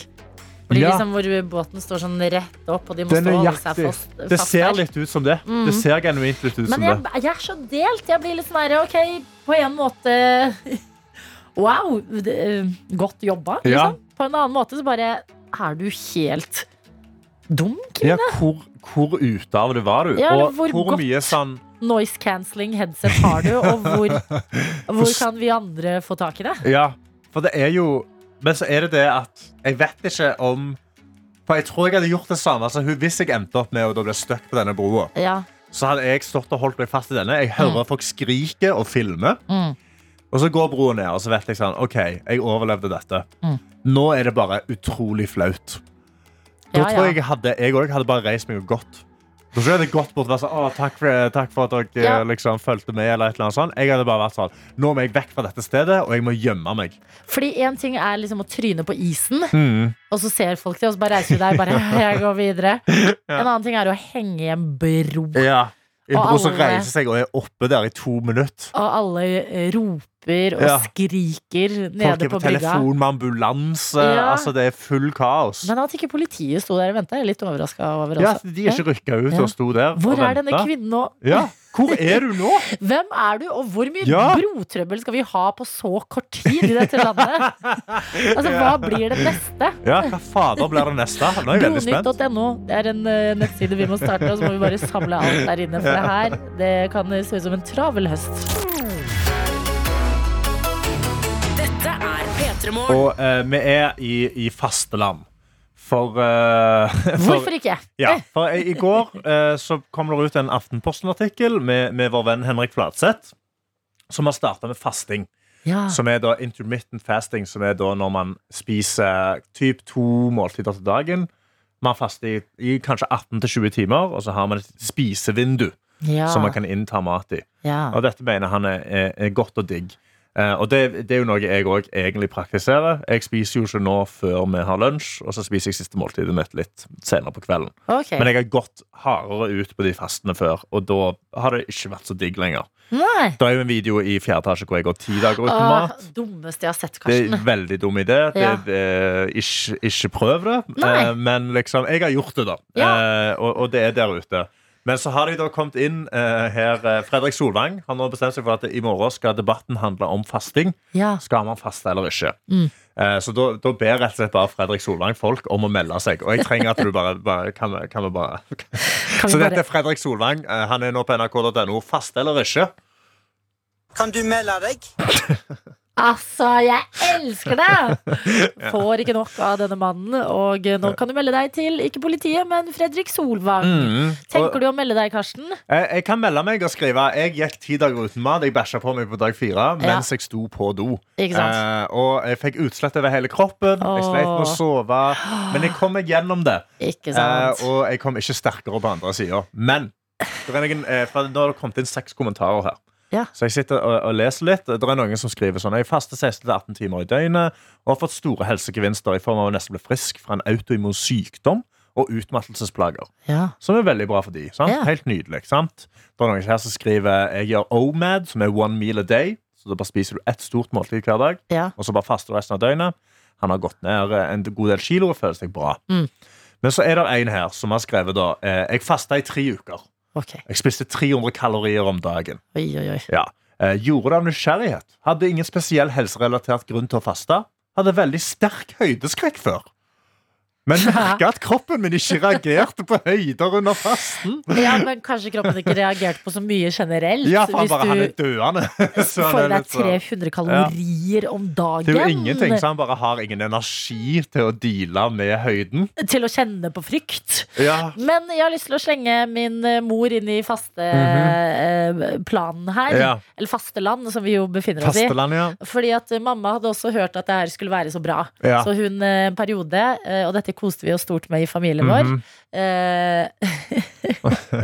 S2: Blir
S3: Ja.
S2: liksom hvor båten står sånn rett opp, og de må
S3: Den
S2: stå
S3: er
S2: og holde seg
S3: jaktig.
S2: fast.
S3: Det
S2: fast
S3: ser
S2: der.
S3: litt ut som det.
S2: Mm.
S3: Det ser genuint litt ut som
S2: Men
S3: det.
S2: jeg, jeg er så delt. Jeg blir litt sånn her, OK, på en måte *laughs* Wow, det, godt jobba, liksom.
S3: Ja.
S2: På en annen måte så bare Er du helt dum? Kim?
S3: Ja, hvor, hvor ute av det var du?
S2: Ja, eller
S3: og
S2: hvor
S3: hvor,
S2: godt-
S3: mye sånn
S2: Noise cancelling headset har du, og hvor,
S3: *laughs*
S2: hvor kan vi andre få tak i det?
S3: Ja, for det er jo Men så er det det at jeg vet ikke om For jeg tror jeg hadde gjort det samme altså, hun- hvis jeg endte opp med å da bli stuck på denne broa.
S2: Ja.
S3: Så hadde jeg stått og holdt meg fast i denne. Jeg hører folk skrike og filme.
S2: Mm.
S3: Og så går broen ned, og så vet jeg sånn OK, jeg overlevde dette.
S2: Mm.
S3: Nå er det bare utrolig flaut. Da
S2: Ja,
S3: tror
S2: ja.
S3: jeg jeg hadde, jeg også hadde bare reist meg og gått. Da tror jeg jeg hadde gått bort og vært sånn Å, takk for, det, takk for at dere
S2: Ja.
S3: eh, liksom fulgte med, eller et eller annet sånt. Jeg hadde bare vært sånn Nå må jeg vekk fra dette stedet, og jeg må gjemme meg.
S2: Fordi én ting er liksom å tryne på isen,
S3: Mm.
S2: og så ser folk det, og så bare reiser du deg. Bare, *laughs* jeg går
S3: *laughs*
S2: videre En annen ting er å henge i en bro,
S3: Ja. En
S2: Og
S3: bro som
S2: alle-
S3: reiser seg og er oppe der i to minutter.
S2: og alle eh, roper og
S3: Ja.
S2: skriker
S3: Folk
S2: nede
S3: er på
S2: på brygga.
S3: telefon med ambulanse.
S2: Ja.
S3: Altså, det er full kaos.
S2: Men at ikke politiet sto der og venta, er jeg litt overraska over.
S3: Ja,
S2: Også.
S3: de er ikke rykka ut
S2: Ja.
S3: og sto der
S2: Hvor
S3: og
S2: er denne
S3: venta.
S2: kvinnen nå?
S3: Ja. Hvor er du nå?
S2: Hvem er du, og hvor mye
S3: Ja.
S2: brotrøbbel skal vi ha på så kort tid i dette landet? altså, hva blir det neste?
S3: Ja, hva fader blir det neste? Nå er jeg veldig spent.
S2: Bronytt.no det er en eh, nettside vi må starte, og så må vi bare samle alt der inne. For det her det kan se ut som en travel høst.
S9: Dette er P3morgen.
S3: Og eh, vi er i, i fasteland. For, eh, *laughs* for,
S2: Hvorfor ikke?
S3: ja, for i, i går eh, så kom det ut en Aftenposten-artikkel med, med vår venn Henrik Fladseth, som har starta med fasting.
S2: Ja.
S3: Som er da intermittent fasting, som er da når man spiser typ to måltider til dagen. Man faster i, i kanskje 18-20 timer, og så har man et spisevindu
S2: Ja. Ah.
S3: som man kan innta mat i.
S2: ja.
S3: Og dette mener han er, er, er godt og digg. Eh, og det, det er jo noe jeg òg egentlig praktiserer. Jeg spiser jo ikke nå før vi har lunsj, og så spiser jeg siste måltidet mitt litt senere på kvelden.
S2: Ok.
S3: Men jeg har gått hardere ut på de fastene før, og da har det ikke vært så digg lenger.
S2: Nei.
S3: Det er jo en video i fjerde etasje hvor jeg går ti dager uten
S2: Åh,
S3: mat.
S2: dummeste jeg har sett,
S3: Det er
S2: Karsten.
S3: en veldig dum idé. Det,
S2: Ja.
S3: eh, ikke, ikke prøv det.
S2: Nei.
S3: Eh, men liksom, jeg har gjort det, da.
S2: Ja.
S3: Eh, og, og det er der ute. Men så har de da kommet inn eh, her eh, Fredrik Solvang han har bestemt seg for at i morgen skal debatten handle om fasting.
S2: Ja.
S3: Skal man faste eller ikke?
S2: Mm.
S3: Eh, så da, da ber rett og slett bare Fredrik Solvang folk om å melde seg. Og jeg trenger at du bare, bare kan, vi- kan vi bare
S2: Kan
S3: *laughs* Så
S2: vi
S3: dette
S2: bare
S3: er Fredrik Solvang. Eh, han er nå på nrk.no. Faste eller ikke?
S1: Kan du melde deg?
S2: Altså, jeg elsker
S3: *laughs*
S2: det! Får ikke nok av denne mannen. Og nå kan du melde deg til, ikke politiet, men Fredrik
S3: Mm.
S2: Solvang. Tenker du å melde deg, Karsten?
S3: Jeg, eh, jeg kan melde meg og skrive Jeg gikk ti dager uten mat. Jeg bæsja på meg på dag fire mens jeg sto på do.
S2: Ikke sant?
S3: Eh, og jeg fikk utslett over hele kroppen. Jeg sleit med å
S2: Åh.
S3: sove. Eh,
S2: *gasps*
S3: Men jeg kom meg gjennom det.
S2: Ikke sant?
S3: Eh, og jeg kom ikke sterkere på andre sida. Men det er noen, eh, for nå har det kommet inn seks kommentarer her.
S2: Ja.
S3: Så jeg sitter og, og leser litt. Det er noen som skriver sånn Jeg faster 16-18 timer i døgnet og har fått store helsegevinster i form av å nesten bli frisk fra en autoimmun sykdom og utmattelsesplager.
S2: Ja.
S3: Som er veldig bra for de, sant?
S2: Ja.
S3: Helt nydelig. sant? Det er noen her som skriver Jeg gjør OMAD, som er one meal a day. Så da bare spiser du ett stort måltid hver dag,
S2: Ja.
S3: og så bare faster du resten av døgnet. Han har gått ned eh, en god del kilo og føler seg bra.
S2: Mm.
S3: Men så er det en her som har skrevet da eh, Jeg fasta i tre uker.
S2: Ok.
S3: Jeg spiste 300 kalorier om dagen.
S2: Oi, oi, oi.
S3: Ja. Eh, gjorde det av nysgjerrighet. Hadde ingen spesiell helserelatert grunn til å faste. Hadde veldig sterk høydeskrekk før.
S2: *laughs*
S3: Men merka at kroppen min ikke reagerte på høyder under fasten.
S2: *laughs* Ja, men kanskje kroppen ikke reagerte på så mye generelt.
S3: Ja, for han
S2: hvis
S3: bare han er
S2: du
S3: døende. *laughs* Så han
S2: får i
S3: er
S2: deg
S3: litt sånn-
S2: 300 kalorier om dagen
S3: det er jo ingenting, så han bare har ingen energi til å deale med høyden.
S2: til å kjenne på frykt.
S3: Ja.
S2: Men jeg har lyst til å slenge min eh, mor inn i fasteplanen her.
S3: Mhm. Ja.
S2: Eller fasteland, som vi jo befinner oss i.
S3: Fasteland, ja.
S2: Fordi at eh, mamma hadde også hørt at det her skulle være så bra.
S3: Ja.
S2: Så hun eh, en periode, eh, og dette koste vi oss stort med i familien vår
S3: Mhm.
S2: eh, *laughs*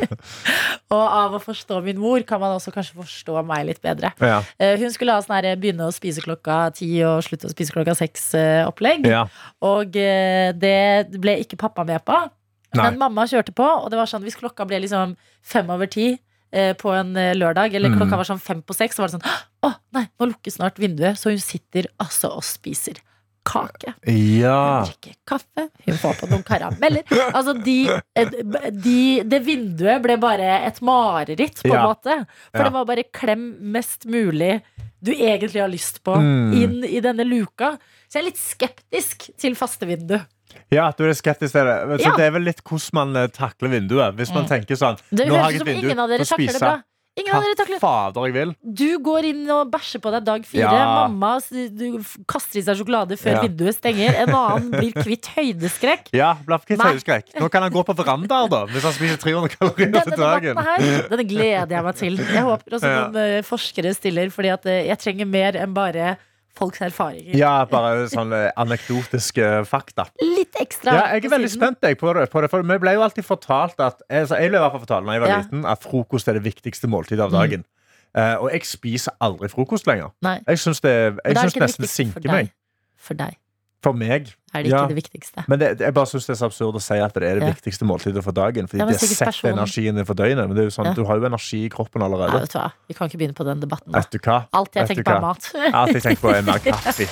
S2: Og av å forstå min mor, kan man også kanskje forstå meg litt bedre.
S3: Ja.
S2: Eh, hun skulle ha sånn her eh, begynne å spise klokka ti og slutte å spise klokka eh, seks-opplegg.
S3: Ja.
S2: Og eh, det ble ikke pappa med på.
S3: Nei.
S2: Men mamma kjørte på, og det var sånn hvis klokka ble liksom fem over ti eh, på en eh, lørdag, eller
S3: Mm.
S2: klokka var sånn fem på seks, så var det sånn Å, nei, nå lukkes snart vinduet. Så hun sitter altså og spiser kake.
S3: Ja.
S2: Hun drikker kaffe. Hun får på noen karameller. Altså, de, de, det vinduet ble bare et mareritt, på en
S3: Ja.
S2: måte. For
S3: Ja.
S2: det var bare klem mest mulig du egentlig har lyst på,
S3: Mm.
S2: inn i denne luka. Så jeg er litt skeptisk til faste vindu.
S3: ja, at du er skeptisk til det. Men Så
S2: Ja.
S3: Det er vel litt hvordan man eh, takler vinduet. Hvis man
S2: Mm.
S3: tenker sånn
S2: Det
S3: Nå har
S2: høres ut
S3: jeg et
S2: som
S3: vindu
S2: ingen av dere
S3: til å
S2: takler det
S3: spise.
S2: bra. Ingen av dere
S3: Hva
S2: takler
S3: fader jeg vil.
S2: Du går inn og bæsjer på deg dag fire.
S3: Ja.
S2: Mamma s- du f- kaster i seg sjokolade før
S3: Ja.
S2: vinduet stenger. En annen blir kvitt høydeskrekk.
S3: Ja, Blafkis
S2: Nei.
S3: høydeskrekk. Nå kan han gå på verandaer, da, hvis han spiser 300
S2: Denne
S3: kalorier til dagen.
S2: debatten her, den gleder jeg meg til. Jeg håper også
S3: *laughs* Ja.
S2: noen eh, forskere stiller, fordi at eh, jeg trenger mer enn bare folks erfaringer.
S3: Ja, bare sånn eh, anekdotiske eh, fakta.
S2: Litt ekstra.
S3: Ja, jeg er
S2: på
S3: veldig
S2: siden.
S3: spent jeg, på det, på det. For vi ble jo alltid fortalt at altså, Jeg ble i hvert fall fortalt når jeg var
S2: Ja. Mm.
S3: liten at frokost er det viktigste måltidet av dagen. Eh, og jeg spiser aldri frokost lenger.
S2: Nei.
S3: Jeg syns det
S2: Men
S3: jeg
S2: da er
S3: synes
S2: ikke det
S3: nesten det
S2: viktigste for
S3: sinker
S2: deg.
S3: meg.
S2: For deg
S3: For meg.
S2: er det ikke
S3: Ja.
S2: det viktigste.
S3: Men det, jeg bare syns det er så absurd å si at det er
S2: Ja.
S3: det viktigste måltidet for dagen. Fordi
S2: Ja, men
S3: det
S2: sikkert
S3: setter
S2: personen-
S3: energien din for døgnet. Men det er jo sånn,
S2: Ja.
S3: du har jo energi i kroppen
S2: Nei,
S3: allerede.
S2: vet du hva? Vi kan ikke begynne på den debatten. nå.
S3: Vet du hva?
S2: Alt jeg
S3: Vet du
S2: tenker på, er
S3: hva?
S2: mat.
S3: Alt jeg tenker på, er mer
S2: *laughs*
S9: P3
S3: kaffe.
S9: Morgen.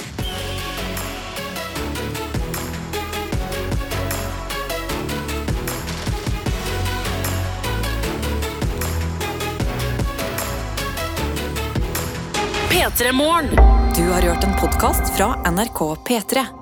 S10: Du har hørt en podkast fra NRK P3.